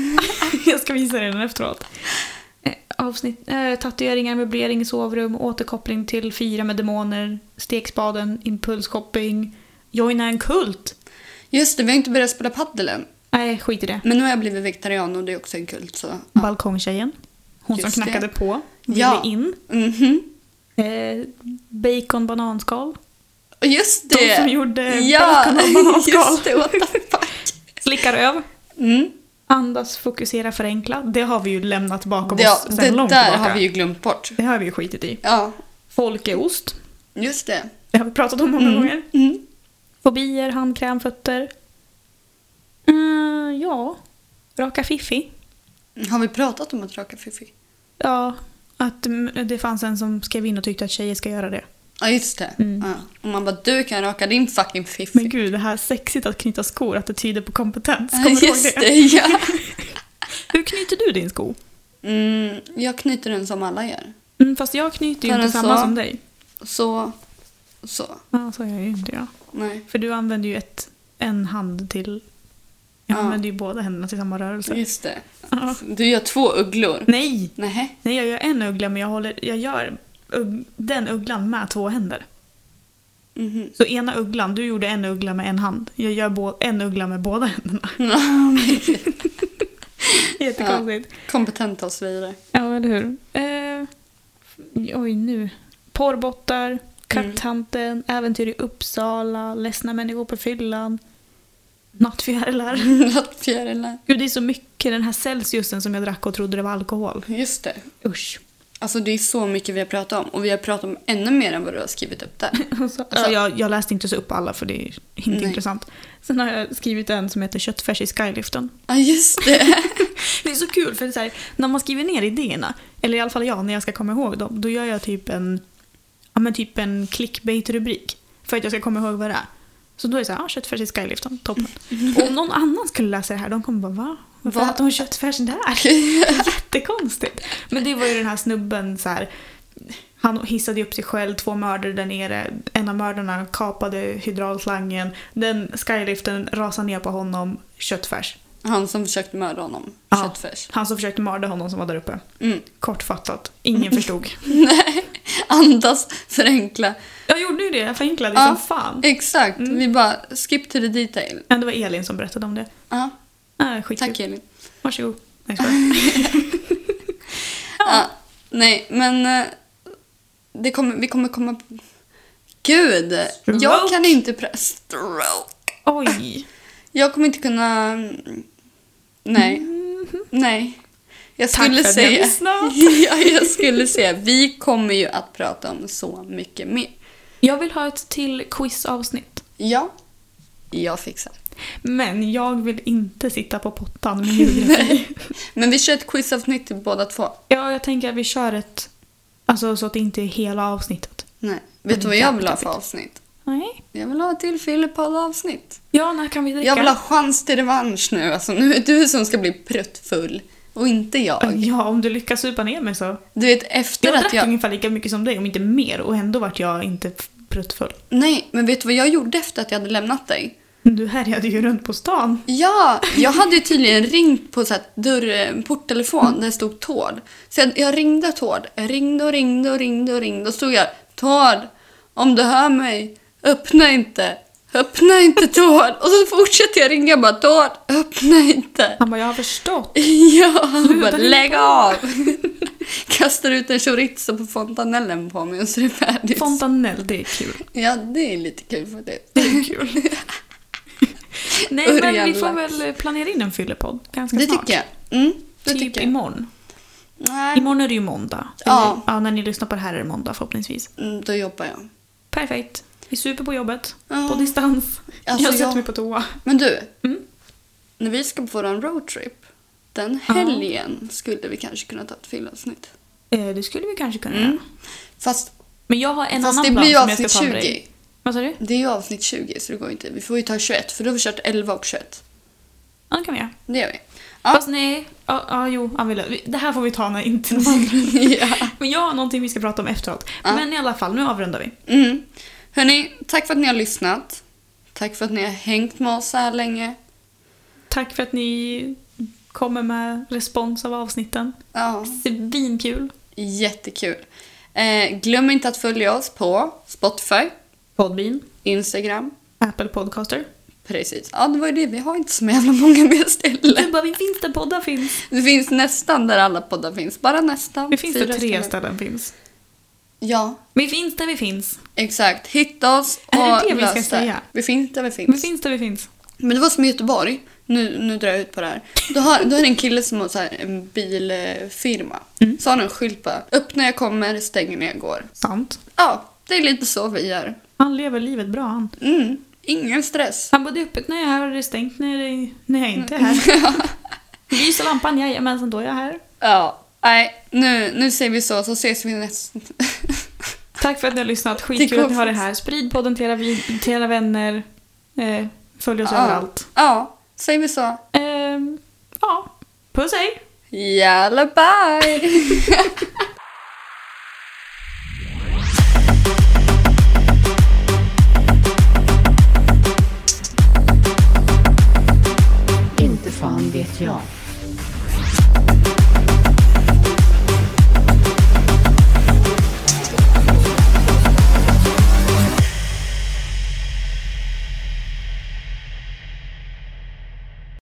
[laughs] jag ska visa dig den efteråt. Eh, Avsnitt, eh, tatueringar, möblering i sovrum, återkoppling till fira med demoner, stekspaden, impulsshopping, joina en kult.
Just det, vi har inte börjat spela padel än.
Nej, skit i det.
Men nu har jag blivit vegetarian och det är också en kult så... Ja.
Balkongtjejen. Hon
Just
som knackade
det.
på, ville
Ja.
in.
Mhm.
Eh, bacon, bananskal.
Och Just
De
det!
som gjorde
ja,
bacon
[laughs]
och bananskal.
just det, what the fuck.
Slickar öv.
Mm.
Andas, fokusera, förenkla. Det har vi ju lämnat bakom
Ja,
oss
det
sen
där
långt tillbaka.
har vi ju glömt bort.
Det har vi ju skitit i.
Ja,
Folkeost.
just det.
Det har vi pratat om många gånger.
Mm.
Fobier, handkräm, fötter. Mm, ja. Raka fiffi.
Har vi pratat om att raka fiffi?
Ja, att mm, det fanns en som skrev in och tyckte att tjejer ska göra det.
Ja, just det.
Mm.
Ja. Och man bara, du kan raka din fucking fiffi.
Men gud, det här sexigt att knyta skor, att det tyder på kompetens.
Ja,
Kommer du ihåg
just
det?
det,
[laughs]
ja.
Hur knyter du din sko?
Mm, jag knyter den som alla gör.
Mm, fast jag knyter ju
Tar
inte
den
samma
så?
som dig.
Så, så.
Ja, så gör jag ju inte jag.
Nej,
För du använder ju ett, en hand till... Jag
Ja.
använder ju båda händerna till samma rörelse.
just det.
Alltså. Ja.
Du gör två ugglor.
Nej!
Nej.
Nej, jag gör en uggla men jag, håller, jag gör ugg, den ugglan med två händer. [laughs]
Mhm.
Så ena ugglan, du gjorde en uggla med en hand. Jag gör bå, en uggla med båda händerna. [laughs] Jättekonstigt.
Kompetenta och så vidare.
Ja, eller hur. Eh, oj, nu. Porrbottar, Katthanten, Äventyr i Uppsala, Ledsna människor på fyllan, Nattfjärilar.
Nattfjärilar.
Gud, det är så mycket. Den här Celsiusen som jag drack och trodde det var alkohol.
Just det.
Usch.
Alltså det är så mycket vi har pratat om och vi har pratat om ännu mer än vad du har skrivit upp där.
[laughs] Alltså, jag, jag läste inte så upp alla för det är inte
Nej.
intressant. Sen har jag skrivit en som heter Köttfärs i skyliften.
Ja just det.
Det är så kul för det är så här, när man skriver ner idéerna, eller i alla fall jag när jag ska komma ihåg dem, då gör jag typ en, ja, men typ en clickbait-rubrik för att jag ska komma ihåg vad det är. Så då är det så här, ah, köttfärs i skyliften, toppen. Och om någon annan skulle läsa det här, de kommer bara va? Varför
Va?
hade hon köttfärs där? Det är jättekonstigt. Men det var ju den här snubben så här, Han hissade ju upp sig själv, två mördare där nere. En av mördarna kapade hydraulslangen. Den skyliften rasade ner på honom, köttfärs.
Han som försökte mörda honom.
Ja.
Köttfärs.
Han som försökte mörda honom som var där uppe.
Mm. [laughs]
Kortfattat, ingen förstod.
Nej, andas, förenkla.
Jag gjorde ju det, jag förenklade
Ja.
som fan.
Exakt, vi bara skip to the detail.
Men det var Elin som berättade om det.
Ja,
Ah, skitkul.
tack Elin.
Varsågod. Nej,
[laughs]
jag skojar.
Ja, nej, men eh, det kommer, vi kommer komma... Gud! Jag
Stroke.
kan inte... Pre- stroke!
Oj.
Jag kommer inte kunna... mm, Nej. Mhm. Nej. Jag
Mm. Tack
skulle
för att ni
säga...
lyssnade.
[laughs] ja, jag skulle säga, vi kommer ju att prata om så mycket mer.
Jag vill ha ett till quizavsnitt.
Ja, jag fixar.
Men jag vill inte sitta på
[laughs]
pottan med geografi.
Men vi kör ett quizavsnitt till båda två.
ja, jag tänker att vi kör ett... Alltså så att det inte är hela avsnittet.
Nej. Vet du vad jag vill ha för avsnitt?
Nej.
Jag vill ha ett till Filippodd-avsnitt.
Ja, när kan vi dricka?
Jag vill ha chans till revansch nu. Alltså, nu är det du som ska bli pruttfull och inte jag.
Ja, om du lyckas supa ner mig så.
Du vet, efter
Mm. Jag
att
drack
jag...
ungefär lika mycket som dig, om inte mer. Och ändå vart jag inte pruttfull.
Nej, men vet du vad jag gjorde efter att jag hade lämnat dig?
Du härjade ju runt på stan.
Ja, jag hade ju tydligen ringt på så här dörr, en porttelefon där det stod Tord. Så jag, jag ringde Tord. Jag ringde och ringde och ringde och ringde. Och stod jag Tord, om du hör mig, öppna inte. Öppna inte Tord. Och så fortsatte jag ringa bara Tord, öppna inte.
Han bara, jag har förstått.
Ja, han bara
ringa
lägg
på."
av. [laughs] Kastar ut en chorizo på fontanellen på mig och så är det färdigt.
Fontanell, det är kul.
ja, det är lite kul för det.
Det är kul. [laughs] Nej, men vi
Örjan
får
Lax.
väl planera in en fyllepodd ganska
Det
snart.
tycker jag. Mm, det
typ
tycker jag.
imorgon.
Nej,
Imorgon är det ju måndag.
Ja.
Eller- ja. När ni lyssnar på det här är det måndag förhoppningsvis.
mm, då jobbar jag.
Perfekt. Vi super på jobbet.
Ja.
På distans.
Mm. Alltså,
jag sätter
jag-
mig på toa.
Men du,
Mm.
när vi ska på vår roadtrip, den helgen skulle vi kanske kunna ta ett fyllavsnitt.
Eh, det skulle vi kanske kunna
Mm.
göra.
Fast,
Men jag har en
fast
annan
det
plan
blir ju
som jag ska
avsnitt
ta med dig.
20.
Vad sa du?
Det är ju avsnitt 20 så det går inte. Vi får ju ta 21 för då har vi kört 11 och 21.
Ja, det kan vi göra.
Det gör
[laughs]
vi. Ja.
Fast nej. Ja, ja jo. Ja, vi- vi- det här får vi ta
[laughs]
när inte de andra...
ja.
Men jag har någonting vi ska prata om efteråt.
Ja.
Men i alla fall, nu avrundar vi.
Mm. Hörni, tack för att ni har lyssnat. Tack för att ni har hängt med oss så här länge.
Tack för att ni kommer med respons av avsnitten.
Ja,
Svinkul.
jättekul. Eh, glöm inte att följa oss på Spotify,
Podbean.
Instagram.
Apple Podcaster.
Precis. Ja, det var ju det. Vi har inte så jävla många mer ställen.
Du bara, vi finns där poddar finns.
Det finns nästan där alla poddar finns. Bara nästan.
Vi finns där
Fyra
tre ställen finns.
Ja,
Vi finns där vi finns.
exakt. Hitta oss och
Är det det vi ska
lös
säga?
Vi finns där vi
Vi
finns.
finns där vi finns.
Men det var som i Göteborg. Nu, nu drar jag ut på det här. Då, har, då är det en kille som har så här en bilfirma.
Mm.
Så har han en skylt bara. Upp när jag kommer, stäng när jag går.
Sant.
Ja, det är lite så vi gör.
Han lever livet bra han.
Mm, ingen stress.
Han både öppet när jag är här och det är stängt när, det, när jag inte är [laughs] här. Lyser lampan, jajamensan då är jag här.
Ja, nej, nu, nu säger vi så, så ses vi nästa...
Tack för att ni har lyssnat.
Det
Skitkul
går
att ni har det
fort.
här. Sprid podden till era, vi- till era vänner. Eh, följ oss
Ja.
överallt.
Ja, säger vi så.
Ehm, ja. Puss hej!
Jalla, bye!
Inte fan vet jag.